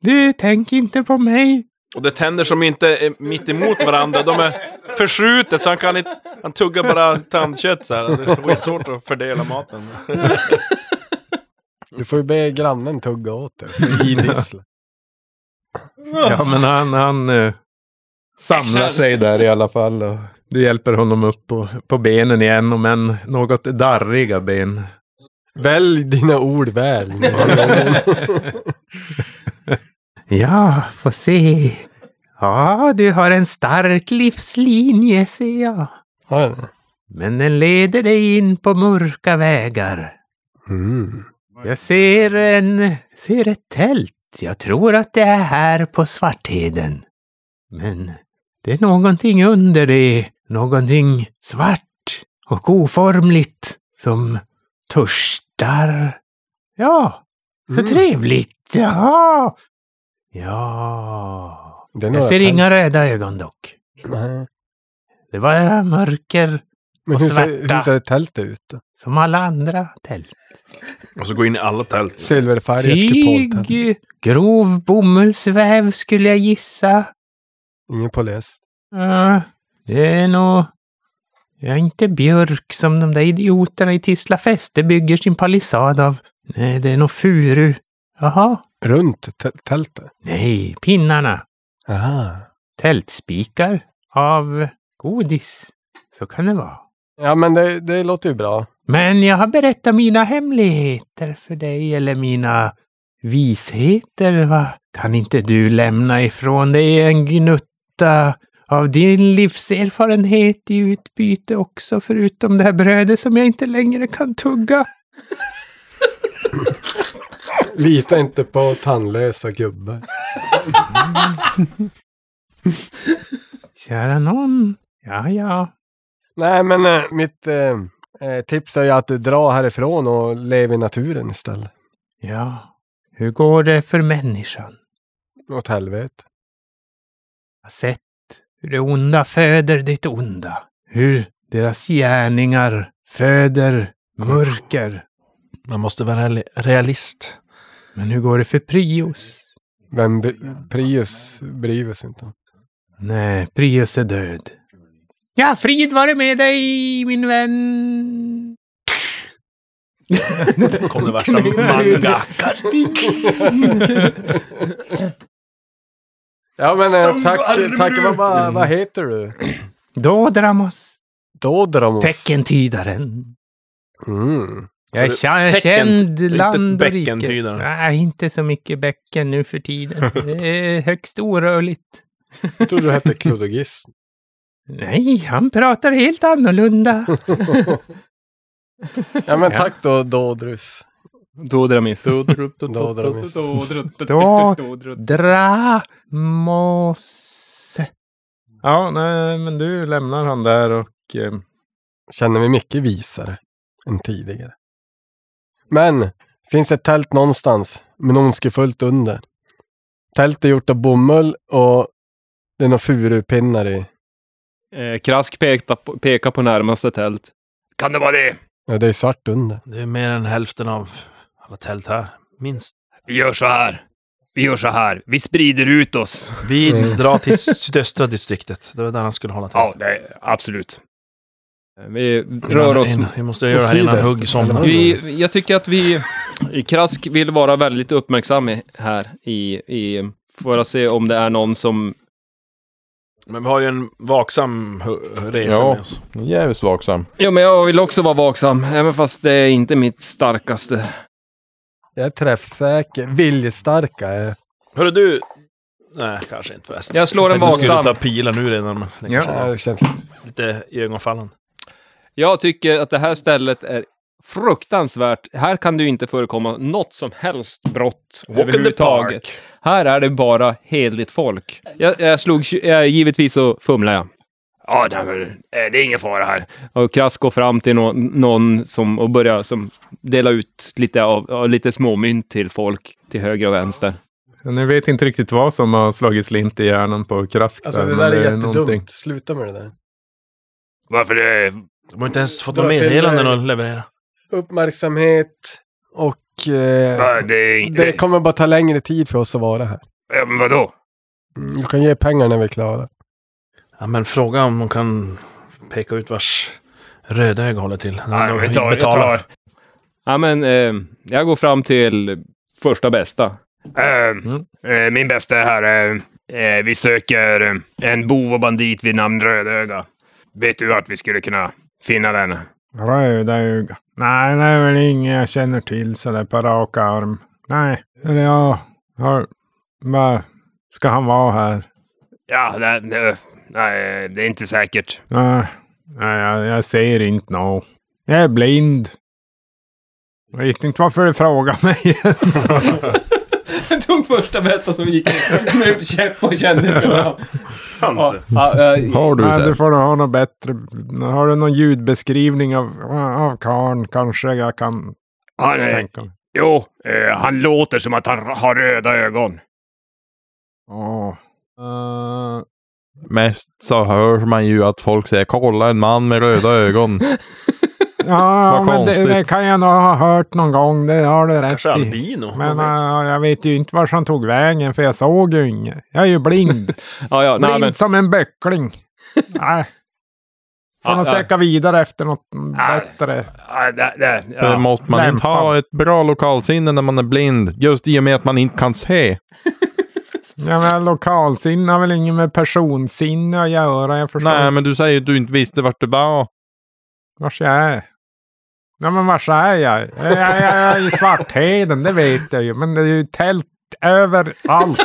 [SPEAKER 9] Du, tänk inte på mig.
[SPEAKER 6] Och det är tänder som inte är mitt emot varandra. De är förskjutet så han kan inte... Han tuggar bara tandkött så här. Det är skitsvårt att fördela maten.
[SPEAKER 5] Du får ju be grannen tugga åt dig. Så idissla.
[SPEAKER 3] Ja, men han, han eh, samlar sig där i alla fall. Och du hjälper honom upp på, på benen igen, om än något darriga ben.
[SPEAKER 5] Välj dina ord väl.
[SPEAKER 9] Ja, får se. Ja, du har en stark livslinje, ser jag.
[SPEAKER 5] Har jag det?
[SPEAKER 9] Men den leder dig in på mörka vägar.
[SPEAKER 5] Mm.
[SPEAKER 9] Jag ser en... Ser ett tält. Jag tror att det är här på Svartheden. Men Det är någonting under det, någonting svart och oformligt som törstar. Ja, så
[SPEAKER 11] Mm.
[SPEAKER 9] trevligt. Jaha. Ja.
[SPEAKER 5] Det är några
[SPEAKER 9] Jag ser
[SPEAKER 5] pen-
[SPEAKER 9] inga röda ögon dock.
[SPEAKER 5] Nej.
[SPEAKER 9] Det var mörker
[SPEAKER 5] Men
[SPEAKER 9] och
[SPEAKER 5] hur
[SPEAKER 9] svärta.
[SPEAKER 5] ser, hur ser tältet ut? då?
[SPEAKER 9] Som alla andra tält.
[SPEAKER 6] Och så gå in i alla tält.
[SPEAKER 5] Silverfärgat kupoltält.
[SPEAKER 9] Tyg, grov bomullsväv skulle jag gissa.
[SPEAKER 5] Ingen polis.
[SPEAKER 9] Ja, det är nog... Ja, inte björk som de där idioterna i Tisla fäste bygger sin palissad av. Nej, det är nog furu. Jaha.
[SPEAKER 5] Runt tä- tältet?
[SPEAKER 9] Nej, pinnarna.
[SPEAKER 5] Aha.
[SPEAKER 9] Tältspikar av godis. Så kan det vara.
[SPEAKER 5] Ja, men det, det låter ju bra.
[SPEAKER 9] Men jag har berättat mina hemligheter för dig, eller mina visheter, va? Kan inte du lämna ifrån dig en gnutta av din livserfarenhet i utbyte också, förutom det här brödet som jag inte längre kan tugga?
[SPEAKER 5] Lita inte på tandlösa gubbar.
[SPEAKER 9] Kära nån. Ja, ja.
[SPEAKER 5] Nej, men eh, mitt eh, eh, tips är ju att dra härifrån och leva i naturen istället.
[SPEAKER 9] Ja. Hur går det för människan?
[SPEAKER 5] Åt helvete.
[SPEAKER 9] Jag har sett hur det onda föder det onda. Hur deras gärningar föder mörker.
[SPEAKER 6] Man måste vara reali- realist.
[SPEAKER 9] Men hur går det för Prius?
[SPEAKER 5] Men br- Prius bryr vi sig inte om.
[SPEAKER 9] Nej, Prius är död. Ja, frid vare med dig, min vän.
[SPEAKER 6] Kom det värsta manga.
[SPEAKER 5] Ja, men eh, tack.
[SPEAKER 6] Stångarmru!
[SPEAKER 5] tack vad, vad, vad
[SPEAKER 9] Mm.
[SPEAKER 5] heter du?
[SPEAKER 9] Dodramus,
[SPEAKER 5] Dodramus.
[SPEAKER 9] teckentydaren.
[SPEAKER 5] Mm.
[SPEAKER 9] Jag är
[SPEAKER 6] Så det-
[SPEAKER 9] kä-
[SPEAKER 6] tecken-
[SPEAKER 9] känd
[SPEAKER 6] inte
[SPEAKER 9] land och rike.
[SPEAKER 6] bäckentydaren.
[SPEAKER 9] Nej, inte så mycket bäcken nu för tiden. Det är högst orörligt.
[SPEAKER 5] Jag trodde du hette Klodogis.
[SPEAKER 9] Nej, han pratar helt annorlunda.
[SPEAKER 5] Ja, men
[SPEAKER 9] Ja.
[SPEAKER 5] tack då, Dodrus.
[SPEAKER 8] Dodramis.
[SPEAKER 5] Dodramus.
[SPEAKER 9] Dodramus.
[SPEAKER 3] Ja, nej, men du lämnar han där och... Eh,
[SPEAKER 5] Känner mig mycket visare än tidigare. Men, finns ett tält någonstans men ondskefullt under. Tält är gjort av bomull och det är några furupinnar i.
[SPEAKER 8] Eh, Krask pekar på, pekar på närmaste tält.
[SPEAKER 10] Kan det vara det?
[SPEAKER 5] Ja, det är svart under.
[SPEAKER 6] Det är mer än hälften av alla tält här. Minst.
[SPEAKER 10] Vi gör så här. Vi gör så här. Vi sprider ut oss.
[SPEAKER 6] Vi
[SPEAKER 5] Mm.
[SPEAKER 6] drar till sydöstra distriktet. Det var där han skulle hålla till.
[SPEAKER 10] Ja, det, absolut.
[SPEAKER 8] Eh, Vi
[SPEAKER 6] Innan-
[SPEAKER 8] rör oss...
[SPEAKER 6] innan- Vi måste göra det här innan
[SPEAKER 5] sydöst,
[SPEAKER 6] hugg
[SPEAKER 5] eller
[SPEAKER 6] somnar.
[SPEAKER 5] vad?
[SPEAKER 8] Vi, jag tycker att vi... Krask vill vara väldigt uppmärksam i- här i... i för att se om det är någon som...
[SPEAKER 6] Men vi har ju en vaksam hu- resa
[SPEAKER 7] Ja.
[SPEAKER 6] med oss.
[SPEAKER 7] Jävligt vaksam.
[SPEAKER 8] Ja, men jag vill också vara vaksam, även fast det är inte mitt starkaste.
[SPEAKER 5] Jag är träffsäker. Viljestarka är jag.
[SPEAKER 6] Hörru du... Nej, kanske inte förresten.
[SPEAKER 8] Jag slår en
[SPEAKER 6] tänkte du skulle
[SPEAKER 8] vaksam.
[SPEAKER 6] ta pilen nu redan, men det
[SPEAKER 3] Ja.
[SPEAKER 6] kanske
[SPEAKER 5] Ja,
[SPEAKER 6] var
[SPEAKER 5] det känns...
[SPEAKER 6] lite iögonfallande.
[SPEAKER 8] Jag tycker att det här stället är fruktansvärt. Här kan det ju inte förekomma något som helst brott överhuvudtaget. Här är det bara hedligt folk. Jag, jag slog... tju- Jag, givetvis så fumlar jag.
[SPEAKER 10] Ja, nej, men, eh, det är ingen fara här.
[SPEAKER 8] Och Krask går fram till nå- någon som, och börjar som, dela ut lite, av, av lite småmynt till folk till höger och vänster.
[SPEAKER 3] ni vet inte riktigt vad som har slagit slint i hjärnan på Krask.
[SPEAKER 5] Alltså
[SPEAKER 3] där,
[SPEAKER 5] det
[SPEAKER 3] men
[SPEAKER 5] där är
[SPEAKER 3] någonting.
[SPEAKER 5] jättedumt. Sluta med det där.
[SPEAKER 10] Varför det?
[SPEAKER 6] De har inte ens fått
[SPEAKER 5] Dra
[SPEAKER 6] några
[SPEAKER 5] till
[SPEAKER 6] meddelanden
[SPEAKER 5] dig.
[SPEAKER 6] att leverera.
[SPEAKER 5] Uppmärksamhet och... Eh,
[SPEAKER 10] Ja, det är inte...
[SPEAKER 5] det kommer bara ta längre tid för oss att vara här. Mm,
[SPEAKER 10] Ja, men vadå?
[SPEAKER 5] Du kan ge pengar när vi är klara.
[SPEAKER 6] Ja, men fråga om de kan peka ut vars rödöga håller till.
[SPEAKER 10] Nej,
[SPEAKER 6] De
[SPEAKER 10] vi tar, vi
[SPEAKER 6] betalar.
[SPEAKER 10] tar.
[SPEAKER 8] Ja, men eh, jag går fram till första bästa.
[SPEAKER 10] Eh, eh, min bästa är här. eh, eh, vi söker eh, en bov och bandit vid namn Rödöga. Vet du att vi skulle kunna finna den?
[SPEAKER 3] Röda öga. Nej, det är väl inget jag känner till sådär på raka arm. Nej, eller ja, har, va, ska han vara här?
[SPEAKER 10] Ja, nej, nej, nej, det är inte säkert.
[SPEAKER 3] Nej, nej jag, jag ser inte nå. Jag är blind. Jag vet inte varför du frågar mig ens.
[SPEAKER 8] Jag tog första bästa som gick in. Med käpp och kändis. Ja,
[SPEAKER 6] Hanse.
[SPEAKER 8] ja, eh,
[SPEAKER 7] Har du
[SPEAKER 3] Nej,
[SPEAKER 7] det?
[SPEAKER 3] du får nog ha något bättre. Har du någon ljudbeskrivning av, av karln? Kanske jag kan
[SPEAKER 10] Han, eh,
[SPEAKER 3] tänka mig.
[SPEAKER 10] jo, eh, han låter som att han r- har röda ögon.
[SPEAKER 3] Åh. Eh,
[SPEAKER 7] Mest så hör man ju att folk säger kolla en man med röda ögon.
[SPEAKER 3] ja,
[SPEAKER 7] Vad
[SPEAKER 3] men det,
[SPEAKER 7] konstigt.
[SPEAKER 3] det kan jag nog ha hört någon gång. Det har du rätt
[SPEAKER 6] Kanske
[SPEAKER 3] i.
[SPEAKER 6] albino.
[SPEAKER 3] Men eh, jag vet ju inte vart han tog vägen för jag såg ju inget. Jag är ju blind.
[SPEAKER 8] ja, ja, nej,
[SPEAKER 3] blind
[SPEAKER 8] men,
[SPEAKER 3] som en böckling. Nej. Får
[SPEAKER 8] Ja,
[SPEAKER 3] nog
[SPEAKER 8] ja.
[SPEAKER 3] söka vidare efter något
[SPEAKER 10] Ah.
[SPEAKER 3] bättre.
[SPEAKER 10] Ah, det, det,
[SPEAKER 7] För
[SPEAKER 10] ja.
[SPEAKER 7] måste man inte ha
[SPEAKER 3] lämpa.
[SPEAKER 7] ett bra lokalsinne när man är blind? Just i och med att man inte kan se.
[SPEAKER 3] Ja, men lokalsinne har väl inget med personsinne att göra. Jag förstår
[SPEAKER 7] Nej, men du säger att du inte visste vart du var.
[SPEAKER 3] Vars jag är? Ja men vars är jag? Jag, jag, jag är i Svartheden, det vet jag ju. Men det är ju tält överallt.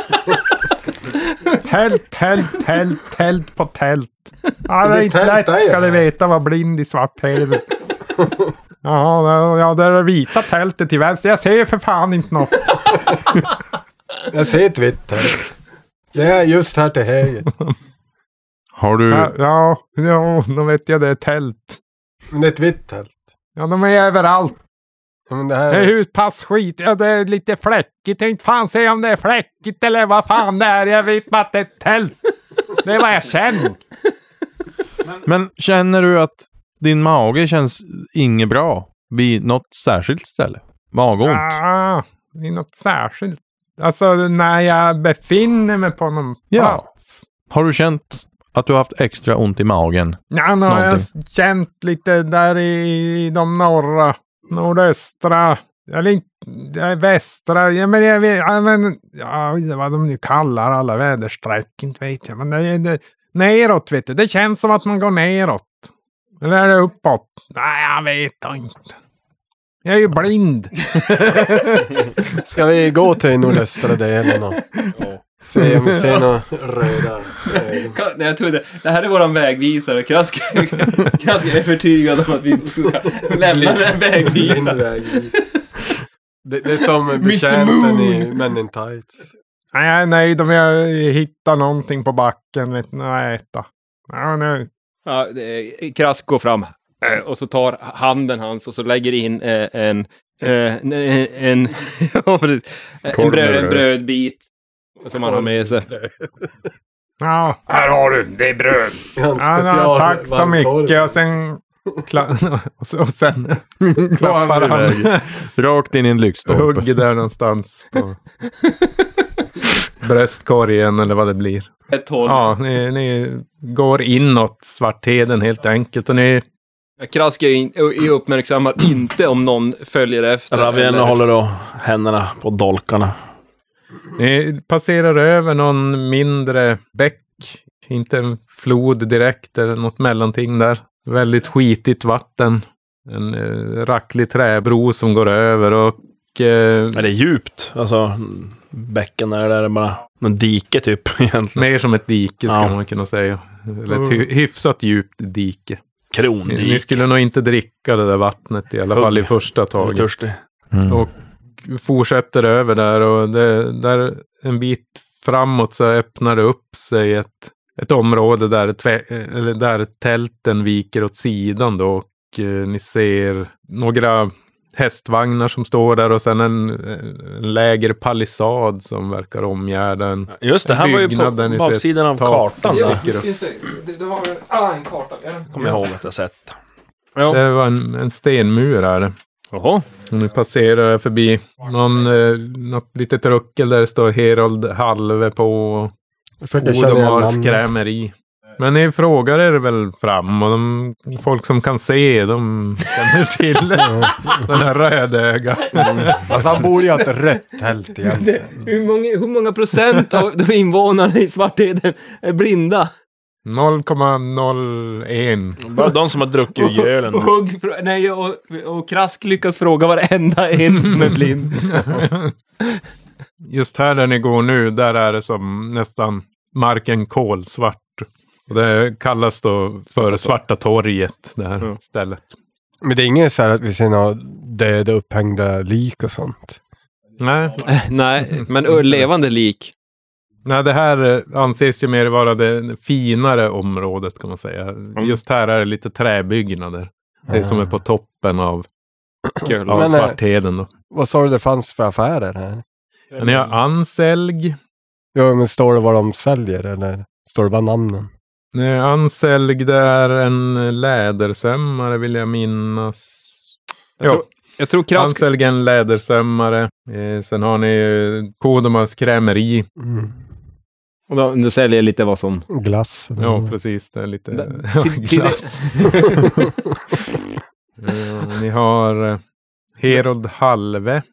[SPEAKER 3] tält, tält, tält, tält på tält. Ja, det är
[SPEAKER 5] Det
[SPEAKER 3] inte
[SPEAKER 5] tält är
[SPEAKER 3] lätt ska
[SPEAKER 5] jag.
[SPEAKER 3] du veta att vara blind i Svartheden. Jaha, ja, det är det vita tältet till vänster. Jag ser för fan inte något.
[SPEAKER 5] Jag ser ett vitt tält. Det är just här till höger.
[SPEAKER 7] Har du...
[SPEAKER 3] Ja, ja, ja, då vet jag det är tält.
[SPEAKER 5] Men det är ett vitt tält.
[SPEAKER 3] Ja, de är överallt.
[SPEAKER 5] Ja, men det här
[SPEAKER 3] Det
[SPEAKER 5] är...
[SPEAKER 3] är huspassskit. Ja, det är lite fläckigt. Jag vet inte fan se om det är fläckigt eller vad fan det är. Jag vet bara att det är ett tält. Det är vad jag känner.
[SPEAKER 7] Men känner du att din mage känns inget bra vid något särskilt ställe? Magont?
[SPEAKER 3] Ah, det är något särskilt. Alltså när jag befinner mig på någon
[SPEAKER 7] Ja.
[SPEAKER 3] plats.
[SPEAKER 7] Har du känt att du har haft extra ont i magen?
[SPEAKER 3] Ja, nu har jag
[SPEAKER 7] Någonting.
[SPEAKER 3] känt lite där i de norra, nordöstra, eller inte, eh, västra. Ja, men jag vet, ja, men, ja, vad de nu kallar alla väderstreck, inte vet jag. Men det, det, neråt, vet du. Det känns som att man går neråt. Eller är det uppåt? Nej, jag vet inte. Jag är ju blind.
[SPEAKER 5] Ska vi gå till nordöstra delen och se om vi ser några röda ögon?
[SPEAKER 8] Kan- Nej, jag trodde, det här är våran vägvisare. Krask, Krask är övertygad om att vi inte ska lämna den
[SPEAKER 5] Blind
[SPEAKER 8] vägvisaren.
[SPEAKER 5] väg dit. Det, det är som betjänten i Men in Tights.
[SPEAKER 3] Nej, jag är nöjd om jag hittar någonting på backen, vet du, att äta. Ja, nu.
[SPEAKER 8] Ja, det är- Krask går fram eh, och så tar handen hans och så lägger in eh, en... eh, En, en, ja, precis. en,
[SPEAKER 7] Korv med
[SPEAKER 8] bröd, en
[SPEAKER 7] bröd.
[SPEAKER 8] brödbit som han har med sig.
[SPEAKER 3] Ja.
[SPEAKER 10] Här har du, det är bröd.
[SPEAKER 3] Ja, ja, tack så mycket. Och sen, kla- och så, och sen klappar han
[SPEAKER 7] Rakt in i en lyktstolpe.
[SPEAKER 3] hugg där någonstans på bröstkorgen eller vad det blir.
[SPEAKER 8] Ett håll.
[SPEAKER 3] Ja, ni, ni går inåt Svartheden helt enkelt. Och ni,
[SPEAKER 8] Krask är, in, är uppmärksammar inte om någon följer efter.
[SPEAKER 6] Ravienna
[SPEAKER 8] eller-
[SPEAKER 6] håller då händerna på dolkarna.
[SPEAKER 3] ni passerar över någon mindre bäck. Inte en flod direkt eller något mellanting där. Väldigt skitigt vatten. En eh, racklig träbro som går över och eh,
[SPEAKER 6] Är det djupt? Alltså, mm, bäcken där, eller är det bara någon dike typ egentligen?
[SPEAKER 3] Mer som ett dike ska
[SPEAKER 6] Ja.
[SPEAKER 3] man kunna säga. Eller ett hy- hyfsat djupt dike. Ni,
[SPEAKER 6] Krondike.
[SPEAKER 3] ni skulle nog inte dricka det där vattnet i alla
[SPEAKER 6] Hugg.
[SPEAKER 3] fall i första
[SPEAKER 6] Jag är
[SPEAKER 3] taget.
[SPEAKER 6] törstig.
[SPEAKER 7] Mm.
[SPEAKER 3] Och fortsätter över där och det, där en bit framåt så öppnar det upp sig ett, ett område där, tve, eller där tälten viker åt sidan då. Och eh, ni ser några hästvagnar som står där och sen en, en lägre palissad som verkar omgärda en
[SPEAKER 6] Just det,
[SPEAKER 3] En
[SPEAKER 6] här var ju
[SPEAKER 3] byggnad där
[SPEAKER 6] på
[SPEAKER 3] ni ser
[SPEAKER 6] baksidan av
[SPEAKER 3] tak som
[SPEAKER 6] kartan. där.
[SPEAKER 3] dyker upp.
[SPEAKER 6] Kommer jag ihåg att jag sett.
[SPEAKER 3] Det var en, en stenmur här.
[SPEAKER 6] Jaha.
[SPEAKER 3] Och nu passerar jag förbi någon, eh, något litet ruckel där det står Herold Halve på och
[SPEAKER 5] Jag försöker känna igen
[SPEAKER 3] Odomars
[SPEAKER 5] namnet.
[SPEAKER 3] krämeri. Men ni frågar er väl fram och de folk som kan se de känner till den här rödöga.
[SPEAKER 5] Alltså han borde ju ha ett rött tält egentligen.
[SPEAKER 8] Hur många, hur många procent av de invånarna i Svartheden är blinda?
[SPEAKER 3] 0,01.
[SPEAKER 6] Bara de som har druckit ur ölen.
[SPEAKER 8] Och, hugg, fr- nej, och, och Krask lyckas fråga varenda en som är blind.
[SPEAKER 3] Just här där ni går nu, där är det som nästan marken kolsvart. Och det kallas då för Svarta torget, det här stället.
[SPEAKER 5] Men det är inget så här att vi ser några döda upphängda lik och sånt.
[SPEAKER 3] Nej.
[SPEAKER 8] Nej, men ö- levande lik.
[SPEAKER 3] Nej, det här eh, anses ju mer vara det finare området kan man säga. Just här är det lite träbyggnader. Det som är på toppen av,
[SPEAKER 8] Kul.
[SPEAKER 3] av
[SPEAKER 5] Men, eh,
[SPEAKER 3] Svartheden. Då.
[SPEAKER 5] Vad sa du det fanns för affärer här?
[SPEAKER 3] Men ni har Anselg.
[SPEAKER 5] Ja, men står det vad de säljer eller står det bara namnen?
[SPEAKER 3] Eh, Anselg, det är en lädersömmare vill jag minnas.
[SPEAKER 8] Jag tror, jag tror Krask...
[SPEAKER 3] Anselg är en lädersömmare. Eh, sen har ni eh, Kodomars krämeri.
[SPEAKER 5] Mm.
[SPEAKER 8] Och då, då säljer jag lite vad som...
[SPEAKER 5] Glass. Mm. eller-
[SPEAKER 3] Ja, precis. Det är lite
[SPEAKER 8] Där- Mm. till- till-
[SPEAKER 3] glass. Eh, Ni har eh, Herold Halve.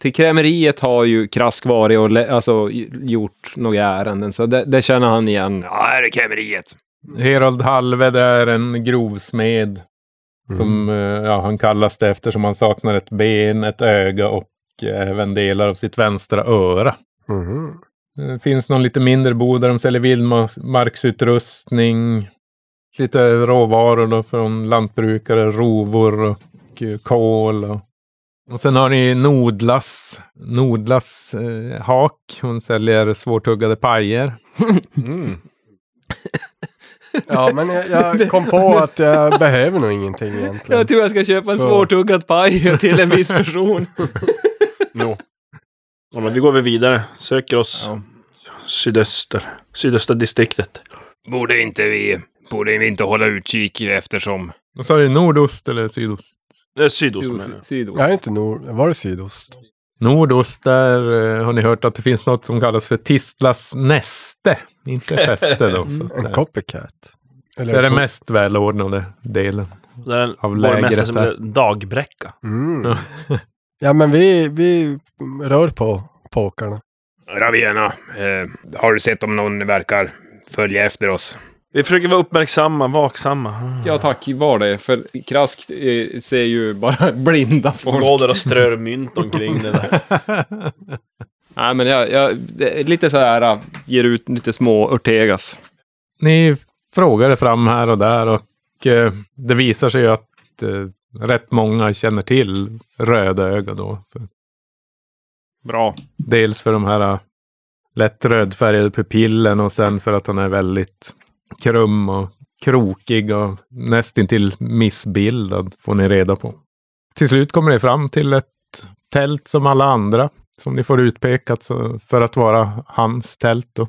[SPEAKER 8] Till krämeriet har ju Krask varit och le, alltså, i- gjort några ärenden, så det, det känner han igen.
[SPEAKER 10] Ja, här är krämeriet.
[SPEAKER 3] Herold Halve, det är en grovsmed. Som, eh,
[SPEAKER 8] Mm.
[SPEAKER 3] ja, han kallas det eftersom han saknar ett ben, ett öga och eh, även delar av sitt vänstra öra.
[SPEAKER 5] Mhm.
[SPEAKER 3] Det Eh, finns någon lite mindre bod där de säljer vildmarksutrustning. Lite råvaror då från lantbrukare, rovor och eh, kol. Och. och sen har ni Nodlas. Nodlas eh, Hak. Hon säljer svårtuggade pajer.
[SPEAKER 6] Mm,
[SPEAKER 5] Ja, men jag, jag kom på att jag behöver nog ingenting egentligen.
[SPEAKER 8] Jag tror jag ska köpa en
[SPEAKER 5] Så.
[SPEAKER 8] svårtuggad paj till en viss person.
[SPEAKER 6] Ja, men vi går väl vidare. Söker oss sydöster. Sydöstra distriktet.
[SPEAKER 10] Borde inte vi, borde vi inte hålla utkik eftersom...
[SPEAKER 3] Och så har ni nordost eller sydost?
[SPEAKER 6] Det är sydost
[SPEAKER 8] Syd-
[SPEAKER 6] menar jag.
[SPEAKER 8] sydost.
[SPEAKER 5] Jag är inte nord... Var det sydost?
[SPEAKER 3] Nordost, där eh, har ni hört att det finns något som kallas för Tistlas näste. Inte fäste då. Så att,
[SPEAKER 5] En
[SPEAKER 3] eh,
[SPEAKER 5] copycat? Eller
[SPEAKER 3] det är den mest välordnade delen.
[SPEAKER 6] Det är en
[SPEAKER 3] Av
[SPEAKER 6] borgmästare
[SPEAKER 3] lägret
[SPEAKER 6] som
[SPEAKER 3] där.
[SPEAKER 6] heter Dagbräcka.
[SPEAKER 5] Mm.
[SPEAKER 3] Ja.
[SPEAKER 5] Ja, men vi, vi rör på påkarna.
[SPEAKER 10] Ravena, eh, har du sett om någon verkar följa efter oss?
[SPEAKER 6] Vi försöker vara uppmärksamma, vaksamma.
[SPEAKER 8] Ja tack, var det. För Krask eh, ser ju bara blinda folk.
[SPEAKER 6] Går där och strör mynt omkring det där.
[SPEAKER 8] Nej men jag, jag det är lite så här, eh, ger ut lite små Ortegas.
[SPEAKER 3] ni frågade fram här och där och eh, det visar sig ju att eh, rätt många känner till rödöga då. För,
[SPEAKER 8] Bra.
[SPEAKER 3] dels för de här eh, lätt rödfärgade pupillen och sen för att han är väldigt krum och krokig och nästintill missbildad får ni reda på. Till slut kommer ni fram till ett tält som alla andra som ni får utpekat så, för att vara hans tält då.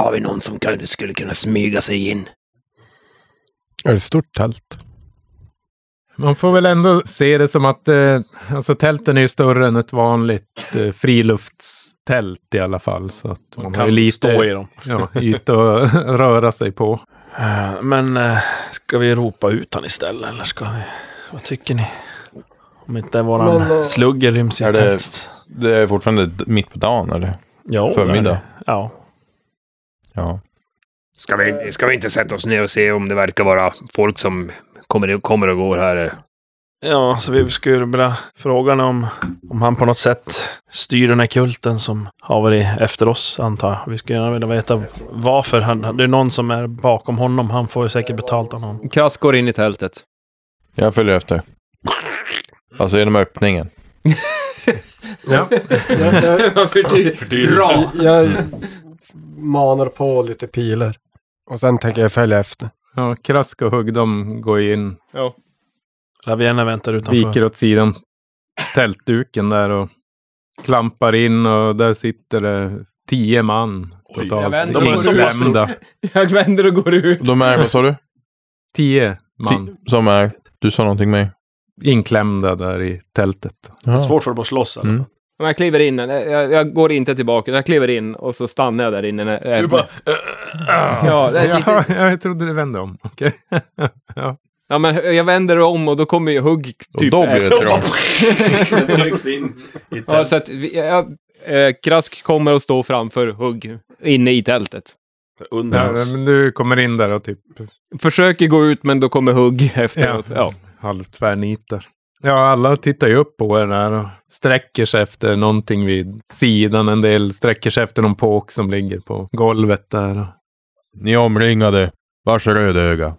[SPEAKER 10] Har vi någon som kan, skulle kunna smyga sig in?
[SPEAKER 5] Är det stort tält?
[SPEAKER 3] Man får väl ändå se det som att eh, alltså tälten är ju större än ett vanligt eh, friluftstält i alla fall. Så att man, har ju lite
[SPEAKER 6] stå i dem.
[SPEAKER 3] ja, yta att röra sig på.
[SPEAKER 6] Eh, Men eh, ska vi ropa ut han istället eller ska vi? Vad tycker ni? Om inte våran
[SPEAKER 5] Men, eh,
[SPEAKER 6] slugger ryms i
[SPEAKER 7] är det-
[SPEAKER 6] tältet.
[SPEAKER 7] Det är fortfarande d- mitt på dagen eller?
[SPEAKER 6] Ja,
[SPEAKER 7] Förmiddag.
[SPEAKER 6] Ja.
[SPEAKER 7] Ja.
[SPEAKER 10] Ska vi, ska vi inte sätta oss ner och se om det verkar vara folk som kommer, kommer och går här?
[SPEAKER 6] Ja, så vi skulle vilja fråga honom om, om han på något sätt styr den här kulten som har varit efter oss, antar jag. Vi skulle gärna vilja veta varför. Han, det är någon som är bakom honom. Han får ju säkert betalt av någon.
[SPEAKER 8] Krask går in i tältet.
[SPEAKER 7] Jag följer efter. Alltså genom öppningen.
[SPEAKER 5] Jag, jag,
[SPEAKER 8] Varför du? Bra!
[SPEAKER 5] jag manar på lite piler. Och sen tänker jag följa efter.
[SPEAKER 3] Ja, Krask och Hugg, de går ju in,
[SPEAKER 6] Laviena väntar utanför.
[SPEAKER 3] viker åt sidan tältduken där och klampar in och där sitter det tio man
[SPEAKER 8] jag
[SPEAKER 3] totalt.
[SPEAKER 8] vänder mig.
[SPEAKER 3] inklämda.
[SPEAKER 8] Jag vänder och går ut.
[SPEAKER 7] De är, vad sa du?
[SPEAKER 3] Tio man
[SPEAKER 7] Ti- Som är? Du sa någonting med mig.
[SPEAKER 3] inklämda där i tältet.
[SPEAKER 6] Det är svårt för dem att slåss i alla fall.
[SPEAKER 7] Mm.
[SPEAKER 8] Men jag kliver in, jag, jag- jag går inte tillbaka, jag kliver in och så stannar jag där inne. när-
[SPEAKER 6] Du bara...
[SPEAKER 8] Ja, det är
[SPEAKER 3] Ja,
[SPEAKER 8] lite,
[SPEAKER 3] jag trodde du vände om. Okej.
[SPEAKER 8] ja, men jag vänder om och då kommer ju hugg
[SPEAKER 7] Och
[SPEAKER 8] typ
[SPEAKER 7] då blir det trångt.
[SPEAKER 6] trycks in i
[SPEAKER 8] Ja, så att vi, jag, eh, Krask kommer att stå framför Hugg inne i tältet.
[SPEAKER 6] Under
[SPEAKER 3] Ja,
[SPEAKER 6] hans...
[SPEAKER 3] men du kommer in där och typ
[SPEAKER 8] Försöker gå ut, men då kommer Hugg efteråt. Ja.
[SPEAKER 3] Ja. halvtvärnitar. Ja, alla tittar ju upp på er där och sträcker sig efter någonting vid sidan. En del sträcker sig efter någon påk som ligger på golvet där.
[SPEAKER 7] Ni är omringade. Vars rödöga?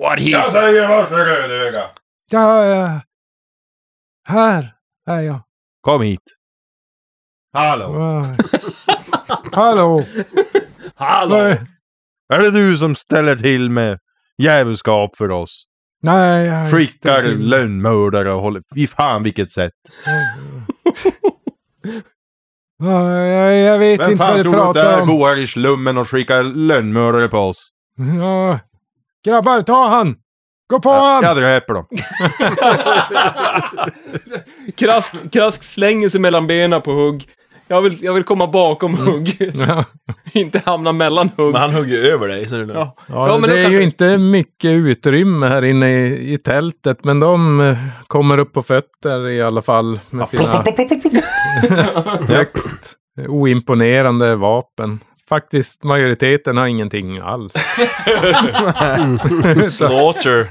[SPEAKER 10] What he said.
[SPEAKER 1] säger varför rödöga!
[SPEAKER 3] Ja, ja. Här är jag.
[SPEAKER 7] Kom hit. Hallå!
[SPEAKER 3] Va? Hallå!
[SPEAKER 10] Hallå!
[SPEAKER 3] Nej,
[SPEAKER 7] Är det du som ställer till med djävulskap för oss?
[SPEAKER 3] nej. jag har inte
[SPEAKER 7] Skickar
[SPEAKER 3] ställt till-
[SPEAKER 7] lönnmördare och håller... Fy fan vilket sätt!
[SPEAKER 3] Ja, jag, jag vet
[SPEAKER 7] Vem
[SPEAKER 3] inte vad
[SPEAKER 7] fan
[SPEAKER 3] du
[SPEAKER 7] tror du att det
[SPEAKER 3] pratar
[SPEAKER 7] är
[SPEAKER 3] om.
[SPEAKER 7] bor här i slummen och skickar lönnmördare på oss?
[SPEAKER 3] Ja. Grabbar, ta han! Gå på
[SPEAKER 7] Jag,
[SPEAKER 3] han!
[SPEAKER 7] jag dräper dem.
[SPEAKER 8] Krask, krask slänger sig mellan benen på hugg. Jag vill, jag vill komma bakom hugg,
[SPEAKER 3] Mm. Ja,
[SPEAKER 8] inte hamna mellan hugg.
[SPEAKER 6] Men han hugger ju över dig, så det är lugnt.
[SPEAKER 8] Ja. Ja, men
[SPEAKER 3] det
[SPEAKER 8] då
[SPEAKER 3] är
[SPEAKER 8] kanske-
[SPEAKER 3] ju inte mycket utrymme här inne i, i tältet, men de eh, kommer upp på fötter i alla fall med sina högst oimponerande vapen. Faktiskt, majoriteten har ingenting alls. Så
[SPEAKER 6] Slaughter.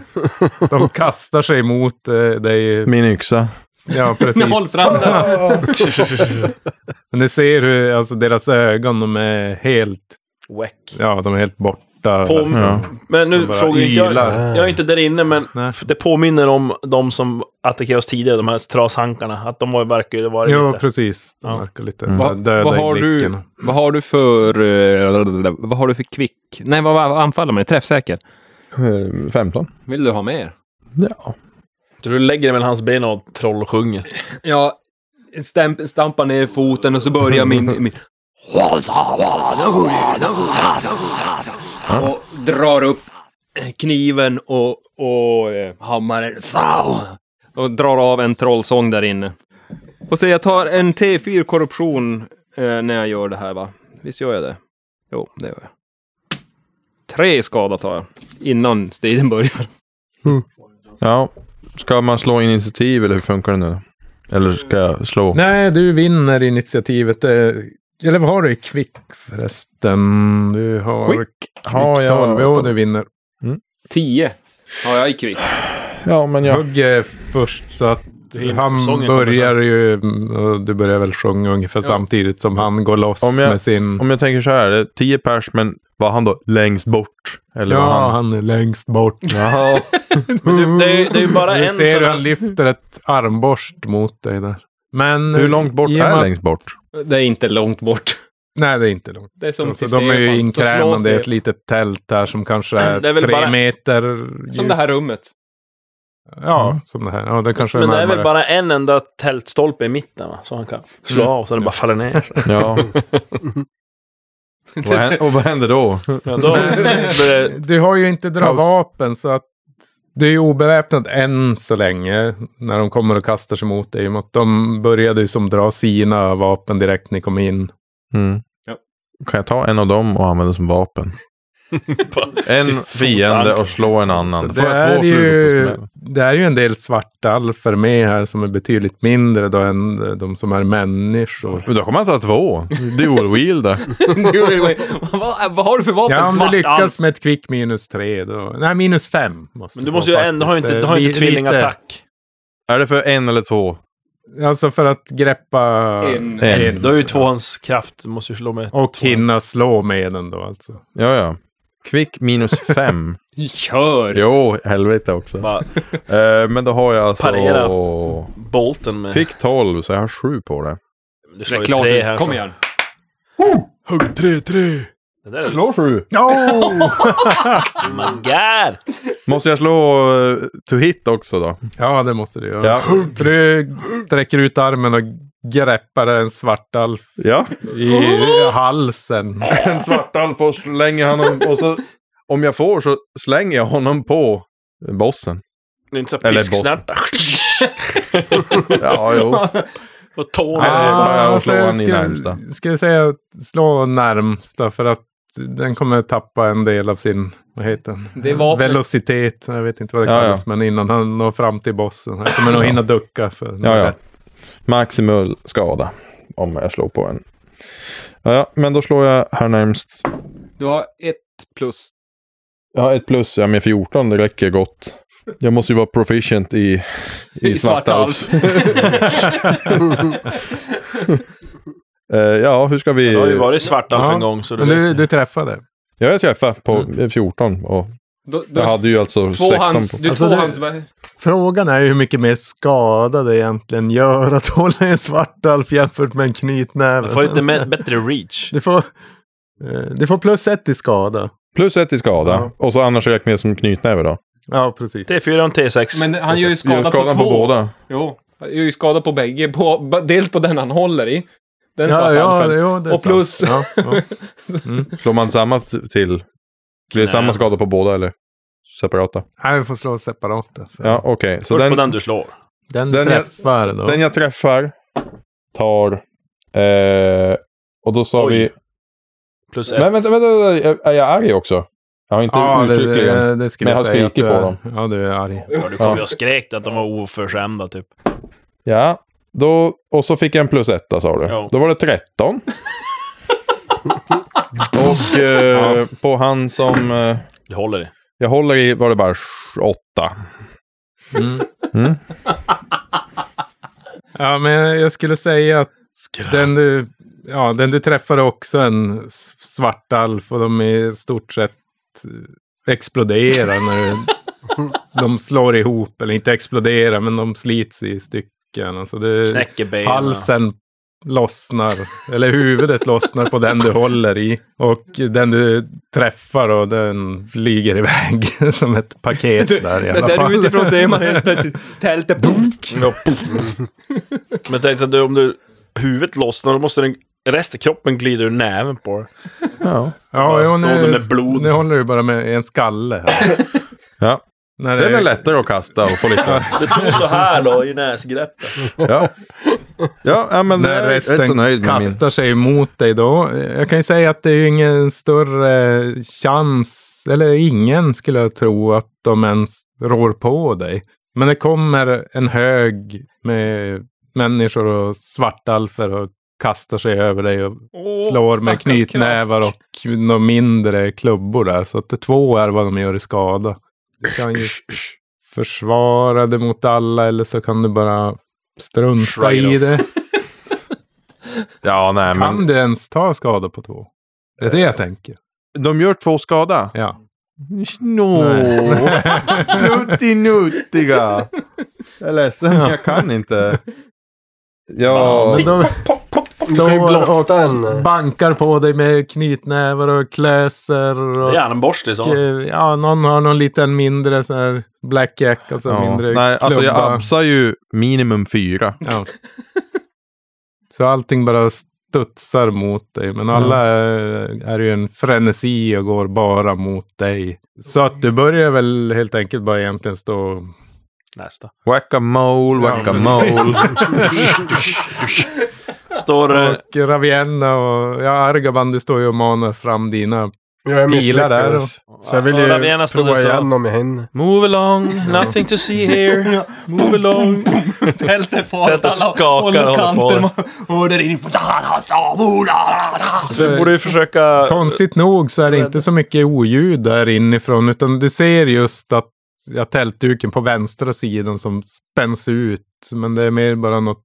[SPEAKER 3] de kastar sig mot eh, dig.
[SPEAKER 7] Min yxa.
[SPEAKER 3] Ja, precis.
[SPEAKER 8] Håll fram den.
[SPEAKER 3] Men ni ser hur alltså, deras ögon, de är helt,
[SPEAKER 6] Weck.
[SPEAKER 3] ja, de är helt borta.
[SPEAKER 6] På,
[SPEAKER 7] Ja.
[SPEAKER 6] Men nu
[SPEAKER 3] De bara
[SPEAKER 6] frågar jag,
[SPEAKER 3] ylar.
[SPEAKER 6] jag är inte där inne, men
[SPEAKER 3] Nej.
[SPEAKER 6] det påminner om de som attackerade oss tidigare, de här trashankarna. Att de var, verkar ju vara
[SPEAKER 3] Ja,
[SPEAKER 6] lite...
[SPEAKER 3] precis. De
[SPEAKER 6] Ja.
[SPEAKER 3] verkar lite
[SPEAKER 8] Mm.
[SPEAKER 3] så här
[SPEAKER 8] Vad-
[SPEAKER 3] döda
[SPEAKER 8] vad har
[SPEAKER 3] i
[SPEAKER 8] du-
[SPEAKER 3] blicken.
[SPEAKER 8] Vad har du för... eh, Vad har du för kvick? Nej, vad, vad anfaller man? Träffsäker.
[SPEAKER 7] Eh, 15.
[SPEAKER 8] Vill du ha mer?
[SPEAKER 7] Ja.
[SPEAKER 6] Så Du lägger dig mellan hans ben och trollsjunger.
[SPEAKER 8] Jag stämp, stampar ner foten och så börjar min... min... Och drar upp kniven och, och eh, hammaren. Och drar av en trollsång där inne. Och så jag tar en T4 korruption eh, när jag gör det här va? Visst gör jag det? Jo, det gör jag. Tre skada tar jag. Innan striden börjar.
[SPEAKER 7] Ja. Ska man slå initiativ eller hur funkar det nu? Eller ska jag slå?
[SPEAKER 3] Nej, du vinner initiativet. eh, Eller vad har du i kvick förresten? Du har
[SPEAKER 7] Quick.
[SPEAKER 3] kvick
[SPEAKER 7] Har
[SPEAKER 3] 12. Jo,
[SPEAKER 7] jag...
[SPEAKER 3] du vinner.
[SPEAKER 8] Tio har jag i kvick.
[SPEAKER 7] Ja, men jag...
[SPEAKER 3] Hugg är först så att
[SPEAKER 6] Till- sången
[SPEAKER 3] han
[SPEAKER 6] kommer
[SPEAKER 3] börjar ju, mm, och du börjar väl sjunga ungefär samtidigt som han går loss
[SPEAKER 7] Om jag-
[SPEAKER 3] med sin...
[SPEAKER 7] Om jag tänker så här, det är 10 pers, men var han då längst bort? Eller var
[SPEAKER 3] Ja,
[SPEAKER 7] han...
[SPEAKER 3] han är längst bort.
[SPEAKER 7] Jaha.
[SPEAKER 6] Du, typ, det, är, ju- det är ju bara
[SPEAKER 3] Du
[SPEAKER 6] en
[SPEAKER 3] ser
[SPEAKER 6] som...
[SPEAKER 3] hur han lyfter ett armborst mot dig där. Men... eh,
[SPEAKER 7] Hur långt bort
[SPEAKER 3] i och med
[SPEAKER 7] är
[SPEAKER 3] att-
[SPEAKER 7] längst bort?
[SPEAKER 8] Det är inte långt bort.
[SPEAKER 3] Nej, det är inte långt.
[SPEAKER 8] Det är som
[SPEAKER 3] Alltså,
[SPEAKER 8] till
[SPEAKER 3] de är ju
[SPEAKER 8] Stefan. Så slås
[SPEAKER 3] inkrämande i
[SPEAKER 8] det-
[SPEAKER 3] ett litet tält där som kanske är,
[SPEAKER 6] Det är väl
[SPEAKER 3] tre
[SPEAKER 6] bara-
[SPEAKER 3] meter
[SPEAKER 8] Som
[SPEAKER 3] djupt.
[SPEAKER 8] det här rummet.
[SPEAKER 3] Ja, som det här. Ja, det kanske
[SPEAKER 6] Men det
[SPEAKER 3] är
[SPEAKER 6] är väl
[SPEAKER 3] närmare.
[SPEAKER 6] bara en enda tältstolpe i mitten, va? Så han kan slå
[SPEAKER 3] Mm.
[SPEAKER 6] av så den bara faller ner.
[SPEAKER 7] Ja. vad händer, och vad händer då?
[SPEAKER 6] Ja, då blir det...
[SPEAKER 3] Du har ju inte dra
[SPEAKER 7] Kaos.
[SPEAKER 3] vapen så att du är ju obeväpnad än så länge när de kommer och kastar sig mot dig. i och med att De började ju som dra sina vapen direkt när ni kom in.
[SPEAKER 7] Mm.
[SPEAKER 8] Ja.
[SPEAKER 7] Kan jag ta en av dem och använda som vapen? En fiende och slå en annan.
[SPEAKER 3] Så
[SPEAKER 7] Då
[SPEAKER 3] det,
[SPEAKER 7] får jag
[SPEAKER 3] är
[SPEAKER 7] två flugor
[SPEAKER 3] ju,
[SPEAKER 7] på smällen.
[SPEAKER 3] det är ju en del svartalfer med här som är betydligt mindre då än eh, de som är människor.
[SPEAKER 7] Men då kommer jag ta två. Dual wheel där.
[SPEAKER 8] vad, vad har du för vapen?
[SPEAKER 3] Ja, om
[SPEAKER 8] Svart
[SPEAKER 3] du
[SPEAKER 8] alf.
[SPEAKER 3] lyckas med ett kvick minus tre då. Nej, minus fem. Måste
[SPEAKER 6] Men du
[SPEAKER 3] få
[SPEAKER 6] måste ju ändå... Du har ju inte,
[SPEAKER 3] faktiskt.
[SPEAKER 6] du har ju
[SPEAKER 3] Det är
[SPEAKER 6] inte
[SPEAKER 3] li- lite-
[SPEAKER 6] tvillingattack.
[SPEAKER 7] Är det för en eller två?
[SPEAKER 3] Alltså för att greppa...
[SPEAKER 8] En.
[SPEAKER 7] En.
[SPEAKER 6] Du har ju tvåans kraft. Du måste ju slå med...
[SPEAKER 3] Och hinna slå med den då alltså.
[SPEAKER 7] Ja, ja. Kvick minus fem.
[SPEAKER 8] Kör!
[SPEAKER 7] jo, helvete också.
[SPEAKER 6] Bara
[SPEAKER 7] Eh, men då har jag alltså...
[SPEAKER 6] Parera. bolten med...
[SPEAKER 7] Kvick 12, så jag har sju på det.
[SPEAKER 6] Du slår ju
[SPEAKER 8] Reklam.
[SPEAKER 6] tre här.
[SPEAKER 8] Kom
[SPEAKER 6] så-
[SPEAKER 8] igen.
[SPEAKER 6] Hugg tre, tre! Det där är...
[SPEAKER 7] Slå sju!
[SPEAKER 6] Oh my god!
[SPEAKER 7] Måste jag slå eh, to hit också då?
[SPEAKER 3] Ja, det måste du göra.
[SPEAKER 7] Ja.
[SPEAKER 3] För du sträcker ut armen och greppar en svartalf
[SPEAKER 7] Ja.
[SPEAKER 3] i halsen.
[SPEAKER 7] En svartalf och slänger honom och så... Om jag får så slänger jag honom på bossen.
[SPEAKER 6] Det är inte så här
[SPEAKER 7] Eller
[SPEAKER 6] pisksnärta.
[SPEAKER 7] Ja, jo.
[SPEAKER 6] Och tårna.
[SPEAKER 7] Nej, det tar jag och slår
[SPEAKER 3] Ah, alltså, jag
[SPEAKER 7] han i närmsta.
[SPEAKER 3] skulle, skulle säga att slå närmsta för att den kommer tappa en del av sin, vad heter den?
[SPEAKER 8] Det är vapnet.
[SPEAKER 3] Velocitet, jag vet inte vad det
[SPEAKER 7] Ja, ja.
[SPEAKER 3] kallas, men innan han når fram till bossen. Han kommer nog hinna ducka för
[SPEAKER 7] Ja, ja. Maximal skada. Om jag slår på en. Ja, Ja, men då slår jag här närmst.
[SPEAKER 8] Du har ett plus.
[SPEAKER 7] Jag har ett plus, ja men 14, det räcker gott. Jag måste ju vara proficient i, i
[SPEAKER 8] I svart
[SPEAKER 7] svartalf. Eh, ja, hur ska vi...
[SPEAKER 6] Du har ju varit svartalf
[SPEAKER 3] Ja,
[SPEAKER 6] en gång, så du
[SPEAKER 3] Men
[SPEAKER 6] vet
[SPEAKER 3] du,
[SPEAKER 6] ju.
[SPEAKER 3] du träffade.
[SPEAKER 7] Mm. Ja, jag träffade på eh, 14 och
[SPEAKER 8] Då, då,
[SPEAKER 7] Jag hade ju alltså
[SPEAKER 8] två
[SPEAKER 7] 16
[SPEAKER 8] hands,
[SPEAKER 7] på.
[SPEAKER 8] du,
[SPEAKER 3] Alltså,
[SPEAKER 8] två
[SPEAKER 3] det-
[SPEAKER 8] hands, vad-
[SPEAKER 3] Frågan är ju hur mycket mer skada det egentligen gör att hålla en svartalf jämfört med en knytnäve.
[SPEAKER 6] Du får lite me- bättre reach.
[SPEAKER 3] Du får, eh, du får plus ett i skada.
[SPEAKER 7] Plus ett i skada.
[SPEAKER 3] Ja.
[SPEAKER 7] Och så annars räknar jag som knytnäve då.
[SPEAKER 3] Ja, precis.
[SPEAKER 6] T4 och T6.
[SPEAKER 8] Men han gör
[SPEAKER 7] Gör
[SPEAKER 8] ju skada på två.
[SPEAKER 7] skadan på båda.
[SPEAKER 8] Jo, han gör ju skada på bägge. På, b- dels på den han håller i. Den
[SPEAKER 3] ja, ja,
[SPEAKER 8] svartalfen.
[SPEAKER 3] ja, det är
[SPEAKER 8] Och
[SPEAKER 3] sant.
[SPEAKER 8] plus-
[SPEAKER 3] Ja, ja.
[SPEAKER 7] Slår man samma t- till? Blir det
[SPEAKER 6] Nej.
[SPEAKER 7] samma skada på båda eller? Separata?
[SPEAKER 3] Nej, vi får slå separat. där, för
[SPEAKER 7] Ja, okej. Så
[SPEAKER 6] Först
[SPEAKER 7] den,
[SPEAKER 6] på
[SPEAKER 7] den,
[SPEAKER 6] den du slår.
[SPEAKER 3] Den,
[SPEAKER 7] Den jag-
[SPEAKER 3] träffar då.
[SPEAKER 7] jag träffar tar... Eh, och då sa
[SPEAKER 6] Oj,
[SPEAKER 7] vi...
[SPEAKER 6] Plus ett.
[SPEAKER 7] Men vänta, vänta, vänta. jag- Är jag arg också? Jag har inte
[SPEAKER 3] ja, det,
[SPEAKER 7] uttryckligen...
[SPEAKER 3] det, det skulle
[SPEAKER 7] Men
[SPEAKER 3] jag
[SPEAKER 7] jag
[SPEAKER 3] säga.
[SPEAKER 7] skriker
[SPEAKER 3] att du
[SPEAKER 7] på
[SPEAKER 3] är-
[SPEAKER 7] dem.
[SPEAKER 3] Ja, du är arg.
[SPEAKER 6] Ja, du kom
[SPEAKER 7] Ja.
[SPEAKER 6] ju och skrek att de var oförskämda typ.
[SPEAKER 7] Ja, då, och så fick jag en plus etta sa du.
[SPEAKER 6] Ja.
[SPEAKER 7] Då var det 13. och eh, på han som eh,
[SPEAKER 6] Du håller i.
[SPEAKER 7] jag håller i var det bara 8.
[SPEAKER 3] Mm.
[SPEAKER 7] Mm.
[SPEAKER 3] Ja, men jag skulle säga att den du, ja, den du träffade också en s- svartalf och de är i stort sett eh, exploderar när du, de slår ihop. Eller inte exploderar, men de slits i stycken. Alltså det,
[SPEAKER 6] Knäcker benen.
[SPEAKER 3] halsen lossnar, eller huvudet lossnar på den du håller i. Och den du träffar och den flyger iväg som ett paket där i alla
[SPEAKER 8] där
[SPEAKER 3] fall.
[SPEAKER 8] utifrån ser man helt plötsligt tältet.
[SPEAKER 6] Men tänk så att du, om du huvudet lossnar, då måste den, resten av kroppen glida ur näven på dig.
[SPEAKER 7] Ja.
[SPEAKER 3] Ja,
[SPEAKER 6] Bara
[SPEAKER 3] jo,
[SPEAKER 6] stå där
[SPEAKER 3] nu,
[SPEAKER 6] med blod.
[SPEAKER 3] nu håller du bara med en skalle här.
[SPEAKER 7] Ja.
[SPEAKER 3] När
[SPEAKER 7] Den är lättare att kasta och få lite...
[SPEAKER 6] Det tog så här då i näsgreppet.
[SPEAKER 7] Ja, ja, ja men det
[SPEAKER 3] När
[SPEAKER 7] är rätt så
[SPEAKER 3] resten
[SPEAKER 7] nöjd med min.
[SPEAKER 3] kastar sig mot dig då. Jag kan ju säga att det är ju ingen större chans, eller ingen skulle jag tro, att de ens rår på dig. Men det kommer en hög med människor och svartalfer och kastar sig över dig och slår med knytnävar och några mindre klubbor där. Så att det två är vad de gör i skada. Du kan ju försvara det mot alla eller så kan du bara strunta
[SPEAKER 6] Shride
[SPEAKER 3] i det.
[SPEAKER 7] Ja, nej,
[SPEAKER 3] Kan
[SPEAKER 7] men
[SPEAKER 3] du ens ta skada på två? Det är det jag tänker.
[SPEAKER 7] de gör två skada.
[SPEAKER 3] Ja.
[SPEAKER 7] No. Pluttinuttiga. Jag är ledsen,
[SPEAKER 3] Ja.
[SPEAKER 7] jag kan inte. Ja,
[SPEAKER 3] Men de
[SPEAKER 5] Du kan ju blotta en. eh,
[SPEAKER 3] bankar på dig med knytnävar och klöser.
[SPEAKER 6] Det är liksom.
[SPEAKER 3] Och,
[SPEAKER 6] hjärnborste i
[SPEAKER 3] eh,
[SPEAKER 6] sådana.
[SPEAKER 3] ja, någon har någon liten mindre sån här blackjack, alltså
[SPEAKER 7] ja.
[SPEAKER 3] mindre
[SPEAKER 7] Nej, alltså jag
[SPEAKER 3] klubba.
[SPEAKER 7] absar ju minimum fyra.
[SPEAKER 3] Ja. Så allting bara studsar mot dig. Men alla eh, är ju en frenesi och går bara mot dig. Så att du börjar väl helt enkelt bara egentligen stå...
[SPEAKER 6] Nästa.
[SPEAKER 7] Whack-a-mole,
[SPEAKER 3] Ja,
[SPEAKER 7] whack-a-mole.
[SPEAKER 6] Står eh,
[SPEAKER 3] Och Ravienna och ja, Argaban, du står ju och manar fram dina...
[SPEAKER 5] Jag
[SPEAKER 3] Pilar där
[SPEAKER 5] misslyckades. Så jag vill
[SPEAKER 6] Ja, Ravena
[SPEAKER 5] ju
[SPEAKER 6] stod
[SPEAKER 5] prova
[SPEAKER 6] och sa-
[SPEAKER 5] igen om jag hinner.
[SPEAKER 6] Move along, nothing to see here. Move along.
[SPEAKER 8] Tältet far
[SPEAKER 6] Tältet skakar och håller på.
[SPEAKER 8] Och, och där inne.
[SPEAKER 6] Du Alltså, borde ju försöka...
[SPEAKER 5] eh,
[SPEAKER 3] Konstigt nog så är det inte så mycket oljud där inifrån, utan du ser just att ja, tältduken på vänstra sidan som spänns ut. Men det är mer bara något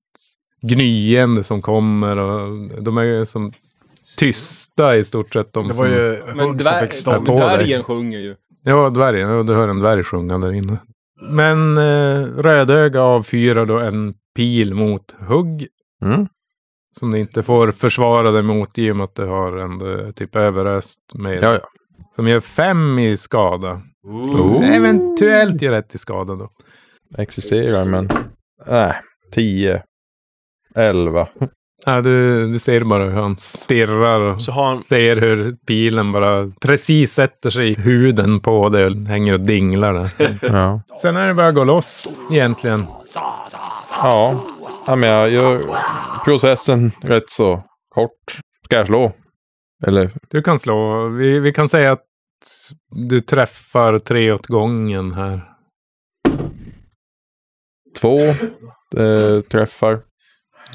[SPEAKER 3] gnyende som kommer och de är ju som tysta i stort sett. De
[SPEAKER 5] Det
[SPEAKER 3] som,
[SPEAKER 5] var ju
[SPEAKER 8] Men
[SPEAKER 5] hugg som fick
[SPEAKER 8] dvär,
[SPEAKER 5] stånd.
[SPEAKER 3] på dig.
[SPEAKER 8] dvärgen sjunger ju.
[SPEAKER 3] Ja, dvärgen. Ja, du hör en dvärg sjunga där inne. Men eh, Rödöga avfyrar då en pil mot hugg
[SPEAKER 7] Mm.
[SPEAKER 3] som du inte får försvara dig mot i och med att du har en eh, typ överöst med
[SPEAKER 7] Ja, ja.
[SPEAKER 3] Som gör fem i skada. Som
[SPEAKER 7] Ooh.
[SPEAKER 3] eventuellt gör ett i skada då.
[SPEAKER 7] Existerar, men... Nej, tio. Elva.
[SPEAKER 3] Ja, du, du ser bara hur han stirrar och
[SPEAKER 6] Så har han...
[SPEAKER 3] ser hur pilen bara precis sätter sig i huden på dig och hänger och dinglar där.
[SPEAKER 7] Ja.
[SPEAKER 3] Sen är det bara att gå loss egentligen.
[SPEAKER 7] Ja. ja, men jag gör processen rätt så kort. Ska jag slå? Eller?
[SPEAKER 3] Du kan slå. Vi, vi kan säga att du träffar tre åt gången här.
[SPEAKER 7] Två eh, träffar.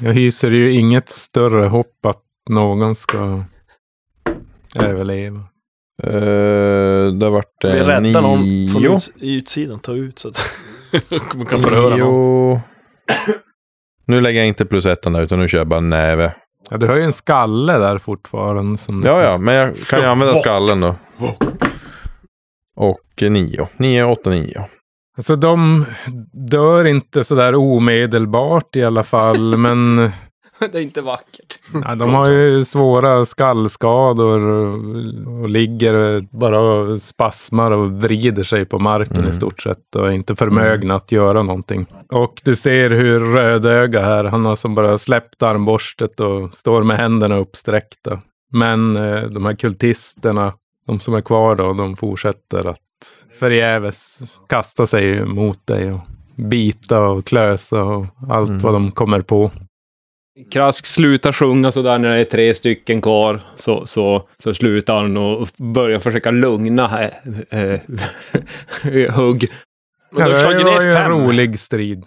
[SPEAKER 3] Jag hyser ju inget större hopp att någon ska överleva.
[SPEAKER 7] Eh, det vart
[SPEAKER 6] Vi
[SPEAKER 7] det
[SPEAKER 6] räddar någon från
[SPEAKER 7] nio.
[SPEAKER 6] uts- i utsidan. Ta ut så att man kan förhöra någon.
[SPEAKER 7] Nio. Nu lägger jag inte plus ettan där, utan nu kör jag bara näve.
[SPEAKER 6] Mm,
[SPEAKER 3] Ja, du har ju en skalle där fortfarande. Som du
[SPEAKER 7] Ja,
[SPEAKER 3] sa.
[SPEAKER 7] ja, men jag kan ju använda skallen då. Och nio. Nio, åtta, nio.
[SPEAKER 3] Alltså de dör inte sådär omedelbart i alla fall. men
[SPEAKER 8] Det är inte vackert.
[SPEAKER 3] ja, de har ju svåra skallskador och- och ligger bara och spasmar och vrider sig på marken
[SPEAKER 7] Mm.
[SPEAKER 3] i stort sett. Och är inte förmögna att göra någonting. Och du ser hur Rödöga här, han har som bara släppt armborstet och står med händerna uppsträckta. Men eh, de här kultisterna, de som är kvar då, de fortsätter att förgäves kasta sig mot dig och bita och klösa och allt
[SPEAKER 7] Mm.
[SPEAKER 3] vad de kommer på.
[SPEAKER 8] Krask slutar sjunga sådär när det är tre stycken kvar. Så, så, så slutar han och börjar försöka lugna eh, eh, hugg.
[SPEAKER 6] Men du har slagit
[SPEAKER 3] det var
[SPEAKER 6] ner
[SPEAKER 3] ju en
[SPEAKER 6] fem. Mm,
[SPEAKER 3] rolig strid.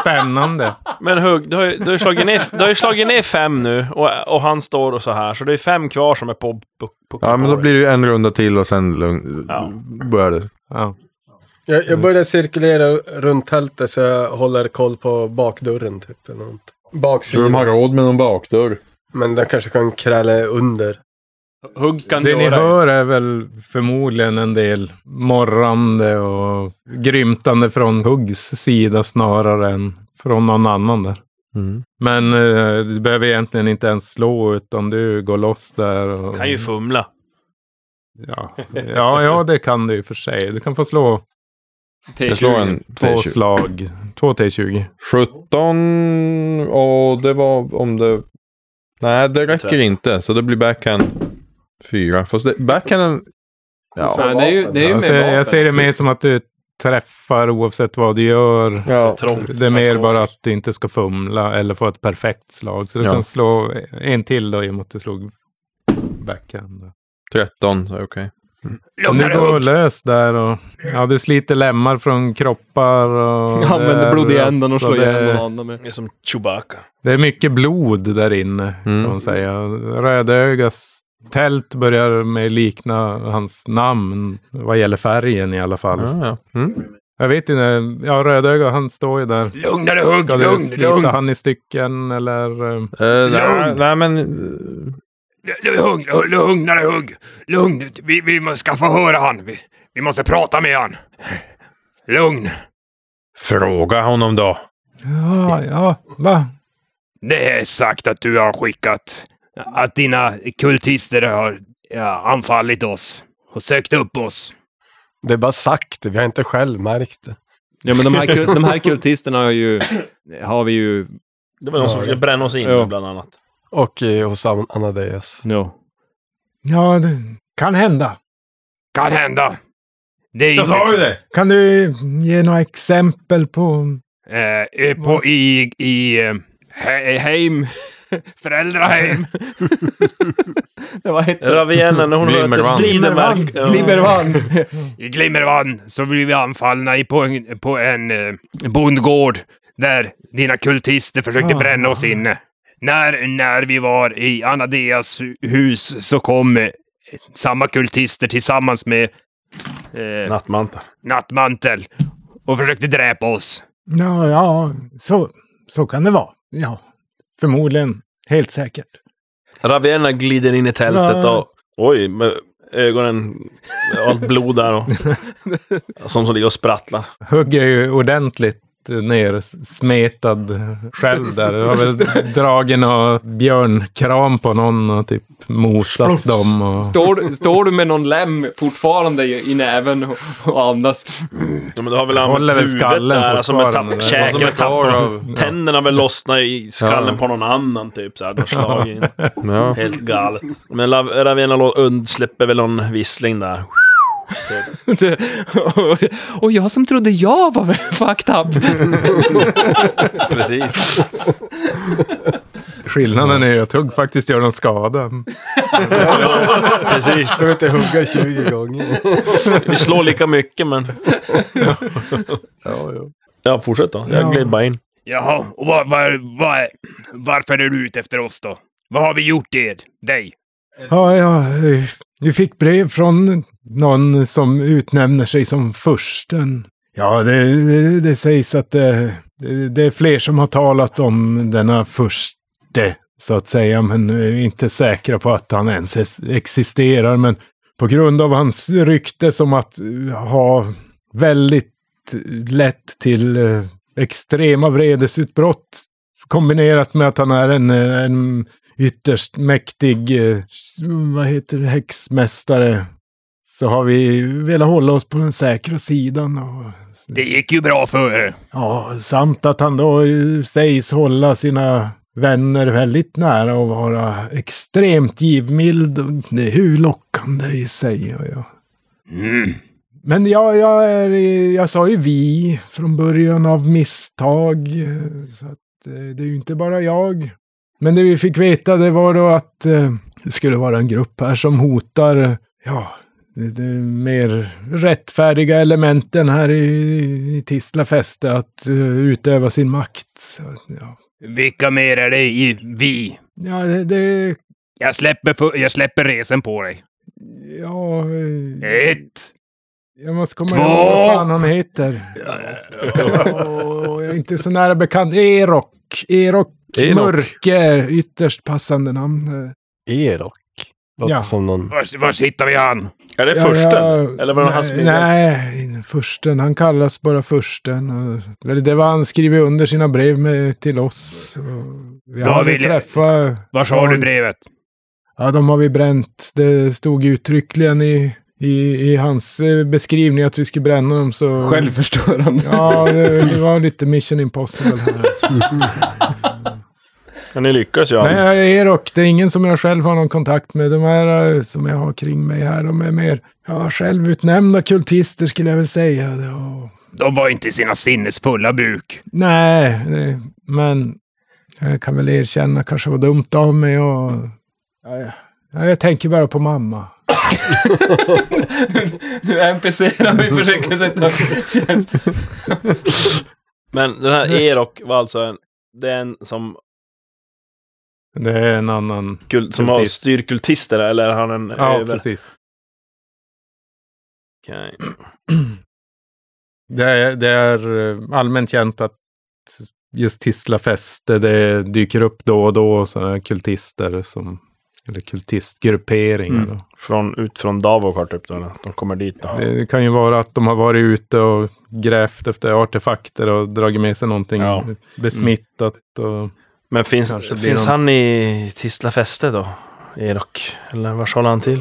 [SPEAKER 3] Spännande.
[SPEAKER 6] Men Hugg, du har ju, du har ju, slagit, ner, du har ju slagit ner fem nu och, och han står och så här. Så det är fem kvar som är på... på, på
[SPEAKER 7] Ja, men då blir det ju en runda till och sen lugn,
[SPEAKER 6] Ja.
[SPEAKER 7] börjar det.
[SPEAKER 3] Ja.
[SPEAKER 5] Jag, jag börjar cirkulera runt tältet så jag håller koll på bakdörren typ. Eller något.
[SPEAKER 7] Tror du de har
[SPEAKER 5] Baksidan.
[SPEAKER 7] råd med någon bakdörr?
[SPEAKER 5] Men den kanske kan kräla under.
[SPEAKER 8] Hugg kan
[SPEAKER 3] Det ni
[SPEAKER 8] göra.
[SPEAKER 3] hör är väl förmodligen en del morrande och grymtande från Huggs sida snarare än från någon annan där.
[SPEAKER 8] Mm.
[SPEAKER 3] Men eh, du behöver egentligen inte ens slå utan du går loss där. Och,
[SPEAKER 6] kan ju fumla.
[SPEAKER 3] ja. ja, ja, det kan du i och för sig. Du kan få slå
[SPEAKER 7] Jag slår en
[SPEAKER 3] två
[SPEAKER 7] T20.
[SPEAKER 3] slag. Två T20.
[SPEAKER 7] 17 och det var om det... Nej, det räcker
[SPEAKER 6] Träff.
[SPEAKER 7] inte. Så det blir backhand 4. Fast det, backhanden... Ja.
[SPEAKER 8] Nej, det är ju, det är ju
[SPEAKER 3] Jag
[SPEAKER 8] med
[SPEAKER 3] ser, jag
[SPEAKER 8] vapen.
[SPEAKER 3] ser det mer som att du träffar oavsett vad du gör.
[SPEAKER 7] ja.
[SPEAKER 3] Det är mer bara att du inte ska fumla eller få ett perfekt slag. Så du
[SPEAKER 7] Ja.
[SPEAKER 3] kan slå en till då i och med att du slog backhand.
[SPEAKER 7] 13, så okej.
[SPEAKER 3] Och nu går lös där och ja, du sliter lemmar från kroppar. Och
[SPEAKER 8] Han
[SPEAKER 3] det
[SPEAKER 8] använder
[SPEAKER 3] är
[SPEAKER 8] blod i änden och
[SPEAKER 3] alltså,
[SPEAKER 8] slår ihjäl någon
[SPEAKER 3] det,
[SPEAKER 8] annan med.
[SPEAKER 6] Det är som Chewbacca.
[SPEAKER 3] det är mycket blod där inne
[SPEAKER 7] Mm.
[SPEAKER 3] kan man säga. Rödögas tält börjar med likna hans namn vad gäller färgen i alla fall.
[SPEAKER 7] Ja, ja. Mm.
[SPEAKER 3] Jag vet inte, ja Rödöga han står ju där.
[SPEAKER 10] Lugna dig Hugg,
[SPEAKER 3] Ska du
[SPEAKER 10] lugn,
[SPEAKER 3] slita
[SPEAKER 10] lugn!
[SPEAKER 3] han i stycken eller? eh,
[SPEAKER 7] Eh, nej,
[SPEAKER 10] Lugn.
[SPEAKER 7] nej, men... eh,
[SPEAKER 10] Lugn, lugna dig Hugg! Lugn, vi, vi måste- ska förhöra han. Vi, vi måste prata med han. Lugn.
[SPEAKER 7] Fråga honom då.
[SPEAKER 3] Ja, ja, va?
[SPEAKER 10] Det är sagt att du har skickat... Att dina kultister har ja, anfallit oss och sökt upp oss.
[SPEAKER 5] Det är bara sagt det, vi har inte själv märkt det.
[SPEAKER 8] Ja, men de här, kul- de här kultisterna har ju... Har vi ju...
[SPEAKER 6] Det var någon som försökte bränna oss in
[SPEAKER 8] Ja.
[SPEAKER 6] bland annat.
[SPEAKER 5] Och eh, hos An- Anadeus.
[SPEAKER 8] Ja.
[SPEAKER 3] Ja, det kan hända.
[SPEAKER 10] Kan hända. Det är
[SPEAKER 7] Jag sa ju det!
[SPEAKER 3] Kan du ge några exempel på...
[SPEAKER 10] Eh, eh, på, I... i eh, he, heim. Föräldraheim.
[SPEAKER 8] Det var ett...
[SPEAKER 6] Ravienna när hon
[SPEAKER 7] Glimmervang.
[SPEAKER 6] möter striden verkar...
[SPEAKER 8] Libervann!
[SPEAKER 10] I Glimmervann så blir vi anfallna i, på en, på en eh, bondgård där dina kultister försökte
[SPEAKER 3] Ah.
[SPEAKER 10] bränna oss inne. När, när vi var i Anadeas hu- hus så kom eh, samma kultister tillsammans med
[SPEAKER 6] Typ.
[SPEAKER 10] eh,
[SPEAKER 6] Nattmanta.
[SPEAKER 10] Nattmantel och försökte dräpa oss.
[SPEAKER 3] Ja, ja, så, så kan det vara. Ja, förmodligen. Helt säkert.
[SPEAKER 6] Ravienna glider in i tältet
[SPEAKER 3] Ja.
[SPEAKER 6] och... Oj, med ögonen... med Allt blod där och... Som som ligger och sprattlar.
[SPEAKER 3] Hugg är ju ordentligt nersmetad själv där. Du har väl dragen och björnkram på någon och typ mosat dem. Och...
[SPEAKER 8] Står, du- står du med någon lem fortfarande i, i näven och, och andas?
[SPEAKER 6] Ja, men du har väl
[SPEAKER 3] Håller
[SPEAKER 6] använt
[SPEAKER 3] väl
[SPEAKER 6] huvudet
[SPEAKER 3] skallen
[SPEAKER 6] där, alltså med
[SPEAKER 3] fortfarande,
[SPEAKER 6] tapp,
[SPEAKER 3] eller?
[SPEAKER 7] Vad som är
[SPEAKER 6] käken
[SPEAKER 7] kvar
[SPEAKER 6] tappar.
[SPEAKER 7] av-
[SPEAKER 6] Tänderna väl lossnar i skallen
[SPEAKER 7] Ja.
[SPEAKER 6] på någon annan typ så här. Du har slagit in.
[SPEAKER 7] Ja.
[SPEAKER 6] Helt galet. Men Lav- Ravena lå- undsläpper väl någon vissling där.
[SPEAKER 8] Det- och- Och jag som trodde jag var fucked up.
[SPEAKER 6] Precis.
[SPEAKER 3] Skillnaden är ju att Hugg faktiskt gör någon skada.
[SPEAKER 6] Precis.
[SPEAKER 5] Jag vet inte hugga 20 gånger.
[SPEAKER 6] Vi slår lika mycket men...
[SPEAKER 7] Ja, ja.
[SPEAKER 6] Ja, fortsätt då.
[SPEAKER 3] Ja.
[SPEAKER 6] Jag glider bara in.
[SPEAKER 10] Jaha, och var, var, var, varför är du ute efter oss då? Vad har vi gjort er? Dig?
[SPEAKER 3] Ja, ja, vi fick brev från någon som utnämner sig som fursten. Ja, det, det, det sägs att det, det, det är fler som har talat om denna furste, så att säga, men är inte säkra på att han ens es- existerar. Men På grund av hans rykte som att eh, ha väldigt lätt till eh, extrema vredesutbrott kombinerat med att han är en, eh, en ytterst mäktig, eh, vad heter det, häxmästare. Så har vi velat hålla oss på den säkra sidan. Och,
[SPEAKER 10] Det gick ju bra för er.
[SPEAKER 3] ja, samt att han då eh, sägs hålla sina vänner väldigt nära och vara extremt givmild. Och Det är hur lockande i sig. Och jag.
[SPEAKER 10] Mm.
[SPEAKER 3] Men jag, jag, är, i- jag sa ju vi från början av misstag. eh, Så att, eh, det är ju inte bara jag. Men det vi fick veta det var då att eh, det skulle vara en grupp här som hotar eh, ja, det, det mer rättfärdiga elementen här i, i Tisla fäste att eh, utöva sin makt. Så, att, ja.
[SPEAKER 10] Vilka mer är det i vi?
[SPEAKER 3] ja, det... det
[SPEAKER 10] Jag släpper, fu- jag släpper resen på dig.
[SPEAKER 3] ja, eh,
[SPEAKER 10] Ett.
[SPEAKER 3] jag måste komma
[SPEAKER 10] Två.
[SPEAKER 3] ihåg vad fan han heter. Åh, jag är inte så nära bekant. Erok. Erok.
[SPEAKER 7] Erok.
[SPEAKER 3] Mörke. Ytterst passande namn.
[SPEAKER 5] Erok. Låter
[SPEAKER 3] Ja.
[SPEAKER 5] som någon...
[SPEAKER 10] Var, var hittar vi han?
[SPEAKER 6] Är det
[SPEAKER 3] Ja,
[SPEAKER 6] försten?
[SPEAKER 3] jag-
[SPEAKER 6] Eller var det hans
[SPEAKER 3] nej,
[SPEAKER 6] bild?
[SPEAKER 3] nej, försten. Han kallas bara försten. Och- eller Det var han skrivit under sina brev med, till oss. Och Vi
[SPEAKER 10] Då
[SPEAKER 3] hade
[SPEAKER 10] vill jag-
[SPEAKER 3] träffat...
[SPEAKER 10] Var har du brevet?
[SPEAKER 3] Ja, de har vi bränt. Det stod uttryckligen i, i, i hans eh, beskrivning att vi skulle bränna dem. Så...
[SPEAKER 8] Självförstörande.
[SPEAKER 3] Ja, det, det var lite mission impossible här.
[SPEAKER 6] Men ni lyckas ju aldrig.
[SPEAKER 3] Nej, jag är Erok. Det är ingen som jag själv har någon kontakt med. De här eh, som jag har kring mig här, de är mer ja, självutnämnda kultister skulle jag väl säga. Ja.
[SPEAKER 10] De var inte i sina sinnesfulla bruk.
[SPEAKER 3] Nej, nej, men jag kan väl erkänna kanske var dumt av mig och... Ja, ja. Ja, jag tänker bara på mamma.
[SPEAKER 8] Nu NPC-ar vi försöker sätta...
[SPEAKER 6] Men den här Erok var alltså en, det är en som,
[SPEAKER 3] Det är en annan...
[SPEAKER 6] kul, som har
[SPEAKER 3] Kultist.
[SPEAKER 6] styr kultister eller är han en eh,
[SPEAKER 3] Ja,
[SPEAKER 6] över?
[SPEAKER 3] precis.
[SPEAKER 6] Okej.
[SPEAKER 3] Det är, det är eh, allmänt känt att just Tisla fäste, det dyker upp då och då sådana kultister som... Eller kultistgrupperingar.
[SPEAKER 6] Mm.
[SPEAKER 3] då.
[SPEAKER 6] Från, ut från Davok har typ då, eller? de kommer dit då.
[SPEAKER 3] Det kan ju vara att de har varit ute och grävt efter artefakter och dragit med sig någonting
[SPEAKER 6] Ja.
[SPEAKER 3] besmittat. Och...
[SPEAKER 6] Men finns,
[SPEAKER 3] Kanske blir
[SPEAKER 6] finns
[SPEAKER 3] någon-
[SPEAKER 6] han i Tisla fäste då? Erok? Eller var håller han till?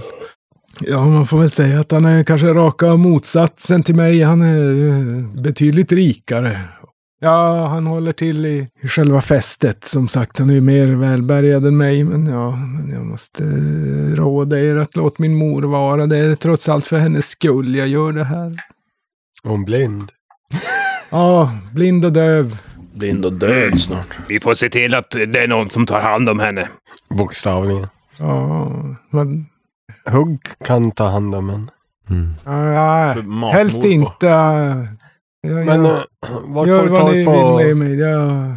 [SPEAKER 3] Ja, man får väl säga att han är kanske raka motsatsen till mig. Han är eh, betydligt rikare. Ja, han håller till i, i själva fästet. Som sagt, han är ju mer välbärgad än mig. Men ja, men jag måste eh, råda er att låt min mor vara. Det är trots allt för hennes skull jag gör det här.
[SPEAKER 5] Hon blind.
[SPEAKER 3] Ja, blind och döv.
[SPEAKER 6] Blind och död snart.
[SPEAKER 10] Vi får se till att det är någon som tar hand om henne.
[SPEAKER 5] Bokstavligen.
[SPEAKER 3] Ja, men...
[SPEAKER 5] Hugg kan ta hand om en.
[SPEAKER 3] Ja,
[SPEAKER 6] För matmord
[SPEAKER 3] Äh, helst
[SPEAKER 6] på.
[SPEAKER 3] inte. Jag,
[SPEAKER 5] Men
[SPEAKER 3] jag,
[SPEAKER 5] ja. vart får
[SPEAKER 3] gör
[SPEAKER 5] vi
[SPEAKER 3] vad ni
[SPEAKER 5] tag
[SPEAKER 3] vill
[SPEAKER 5] på,
[SPEAKER 3] med mig. Jag,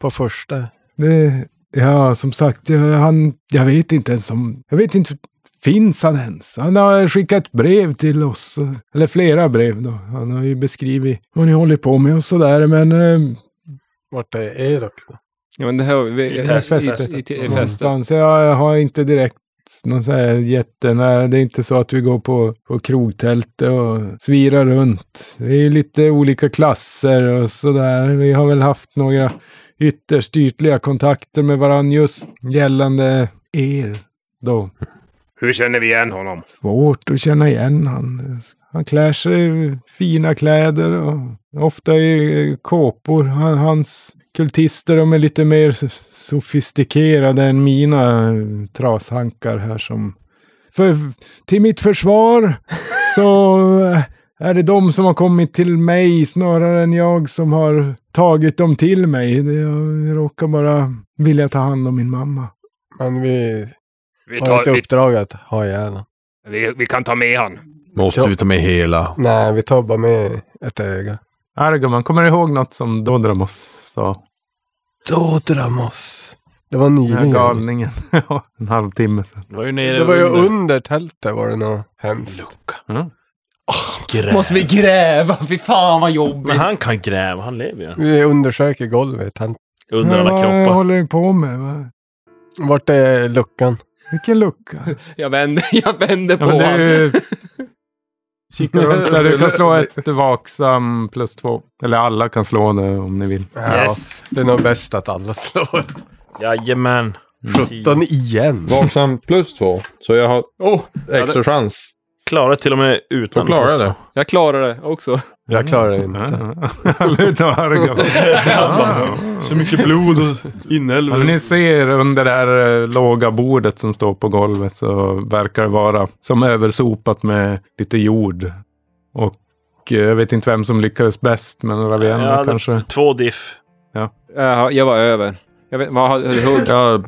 [SPEAKER 5] på första?
[SPEAKER 3] Det, ja, som sagt, jag, han, jag vet inte ens om... Jag vet inte, finns han ens? Han har skickat brev till oss. Eller flera brev då. Han har ju beskrivit vad ni håller på med och sådär, men... eh,
[SPEAKER 5] Vart är Erok då?
[SPEAKER 8] Ja, men det här... Vi,
[SPEAKER 6] I testet.
[SPEAKER 8] I, i, i, i festet.
[SPEAKER 3] någonstans. Jag, jag har inte direkt någon sån här jättenära... Det är inte så att vi går på, på krogtältet och svirar runt. Vi är ju lite olika klasser och sådär. Vi har väl haft några ytterst ytliga kontakter med varandra just gällande er då.
[SPEAKER 10] Hur känner vi igen honom?
[SPEAKER 3] Svårt att känna igen han. Han klär sig i fina kläder och ofta i kåpor. Han- Hans kultister de är lite mer s- sofistikerade än mina eh, trashankar här som... För, till mitt försvar så eh, är det de som har kommit till mig snarare än jag som har tagit dem till mig. Det- Jag råkar bara vilja ta hand om min mamma.
[SPEAKER 5] Men vi
[SPEAKER 10] Vi,
[SPEAKER 5] har
[SPEAKER 10] tar,
[SPEAKER 5] ett
[SPEAKER 10] vi,
[SPEAKER 5] uppdrag att ha ihjäl honom.
[SPEAKER 10] vi, vi kan ta med han.
[SPEAKER 5] Ja.
[SPEAKER 7] Måste vi ta med hela?
[SPEAKER 5] Nej, vi tar bara med ett öga.
[SPEAKER 3] Argoman, kommer du ihåg något som Dodramos sa?
[SPEAKER 5] Dodramus. Det var nyligen.
[SPEAKER 3] Den här galningen. Ja, en halvtimme sedan.
[SPEAKER 6] Det var ju nere
[SPEAKER 5] Det var ju
[SPEAKER 6] under.
[SPEAKER 5] under tältet var det något hemskt.
[SPEAKER 6] Mm.
[SPEAKER 8] Måste vi gräva? Fy fan vad jobbigt.
[SPEAKER 6] Men han kan gräva, han lever ju.
[SPEAKER 5] Vi undersöker golvet. Han-
[SPEAKER 6] Under alla
[SPEAKER 3] Vad
[SPEAKER 6] kroppar.
[SPEAKER 3] håller du på med? Va?
[SPEAKER 5] Vart är luckan?
[SPEAKER 3] Vilken lucka.
[SPEAKER 8] Jag vänder, jag vänder
[SPEAKER 3] Ja,
[SPEAKER 8] på
[SPEAKER 3] men
[SPEAKER 8] honom.
[SPEAKER 3] du kika runt där. Du kan slå ett vaksam plus två. Eller alla kan slå det om ni vill.
[SPEAKER 5] Ja,
[SPEAKER 6] Yes.
[SPEAKER 5] Det är nog bäst att alla slår.
[SPEAKER 6] Jajamän.
[SPEAKER 5] 17 igen.
[SPEAKER 7] Vaksam plus två. Så jag har
[SPEAKER 8] Oh,
[SPEAKER 7] extra chans.
[SPEAKER 6] Klarar till och med utan
[SPEAKER 7] Då klarar jag
[SPEAKER 6] post.
[SPEAKER 7] det.
[SPEAKER 8] jag klarar det också.
[SPEAKER 5] Jag klarar det inte.
[SPEAKER 3] Luta och örga.
[SPEAKER 11] Så mycket blod och
[SPEAKER 3] Ja, men
[SPEAKER 11] inälvor.
[SPEAKER 3] ni ser under det här eh, låga bordet som står på golvet så verkar det vara som översopat med lite jord. Och eh, jag vet inte vem som lyckades bäst, men Ravenna
[SPEAKER 6] Ja, det-
[SPEAKER 3] kanske.
[SPEAKER 6] Två diff.
[SPEAKER 8] Jaha, jag var över. Jag vet, vad hade du hugg?
[SPEAKER 7] Ja,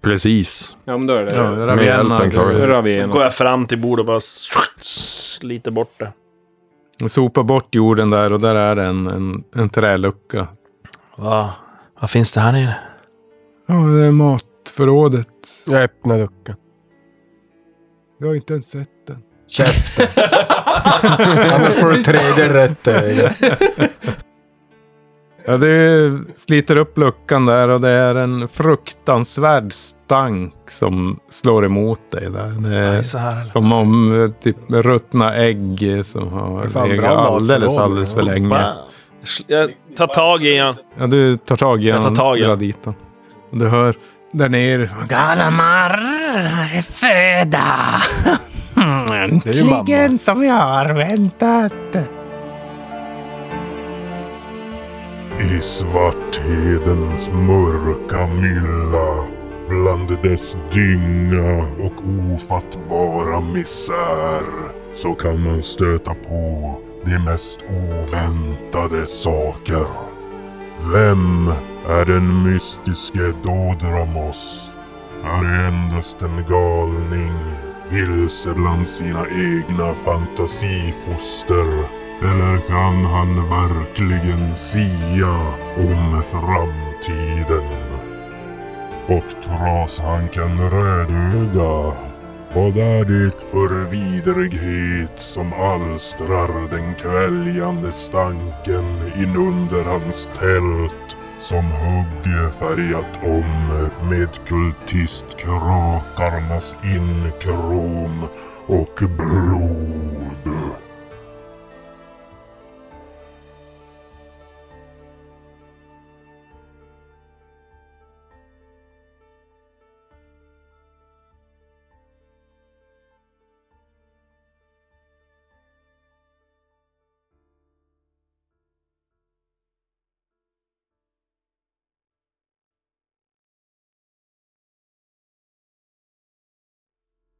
[SPEAKER 7] precis.
[SPEAKER 8] Ja, men då är det
[SPEAKER 3] Ja,
[SPEAKER 8] det.
[SPEAKER 7] Med
[SPEAKER 3] Ravenna.
[SPEAKER 7] hjälpen klarar jag
[SPEAKER 8] Då
[SPEAKER 3] du-
[SPEAKER 8] rör vi
[SPEAKER 6] Då går
[SPEAKER 8] igenom.
[SPEAKER 6] jag fram till bordet och bara sliter bort det.
[SPEAKER 3] Sopa bort jorden där och där är det en, en, en trälucka.
[SPEAKER 6] Va? Vad finns det här nere?
[SPEAKER 3] Ja, det är matförrådet.
[SPEAKER 5] Jag öppnar luckan.
[SPEAKER 3] Jag har inte ens sett den.
[SPEAKER 5] Käften. Ja, men får du tredje rätt eh,
[SPEAKER 3] Ja, du sliter upp luckan där och det är en fruktansvärd stank som slår emot dig där. Det
[SPEAKER 6] Det
[SPEAKER 3] är
[SPEAKER 6] är så här eller?
[SPEAKER 3] som om eh, typ ruttna ägg eh, som
[SPEAKER 5] Det är fan
[SPEAKER 3] har
[SPEAKER 5] bra
[SPEAKER 3] legat
[SPEAKER 5] mat
[SPEAKER 3] alldeles,
[SPEAKER 5] för dem,
[SPEAKER 3] alldeles för
[SPEAKER 5] ja.
[SPEAKER 3] länge.
[SPEAKER 6] Va? Jag tar tag i en.
[SPEAKER 3] Ja, du tar tag i
[SPEAKER 6] Jag tar
[SPEAKER 3] honom
[SPEAKER 6] tag i
[SPEAKER 3] drar
[SPEAKER 6] honom.
[SPEAKER 3] dit den. Och Du hör där nere.
[SPEAKER 9] Galamar är föda.
[SPEAKER 5] är ju mamma.
[SPEAKER 9] Äntligen som jag har väntat.
[SPEAKER 2] I svarthedens mörka mylla, bland dess dynga och ofattbara misär, så kan man stöta på de mest oväntade saker. Vem är den mystiske Dodramos? Är det endast en galning, vilse bland sina egna fantasifoster? Eller kan han verkligen sia om framtiden? Och trashanken Rödöga, vad är det för vidrighet som alstrar den kväljande stanken inunder hans tält som Hugge färgat om med kultistkrakars inkrom och blod?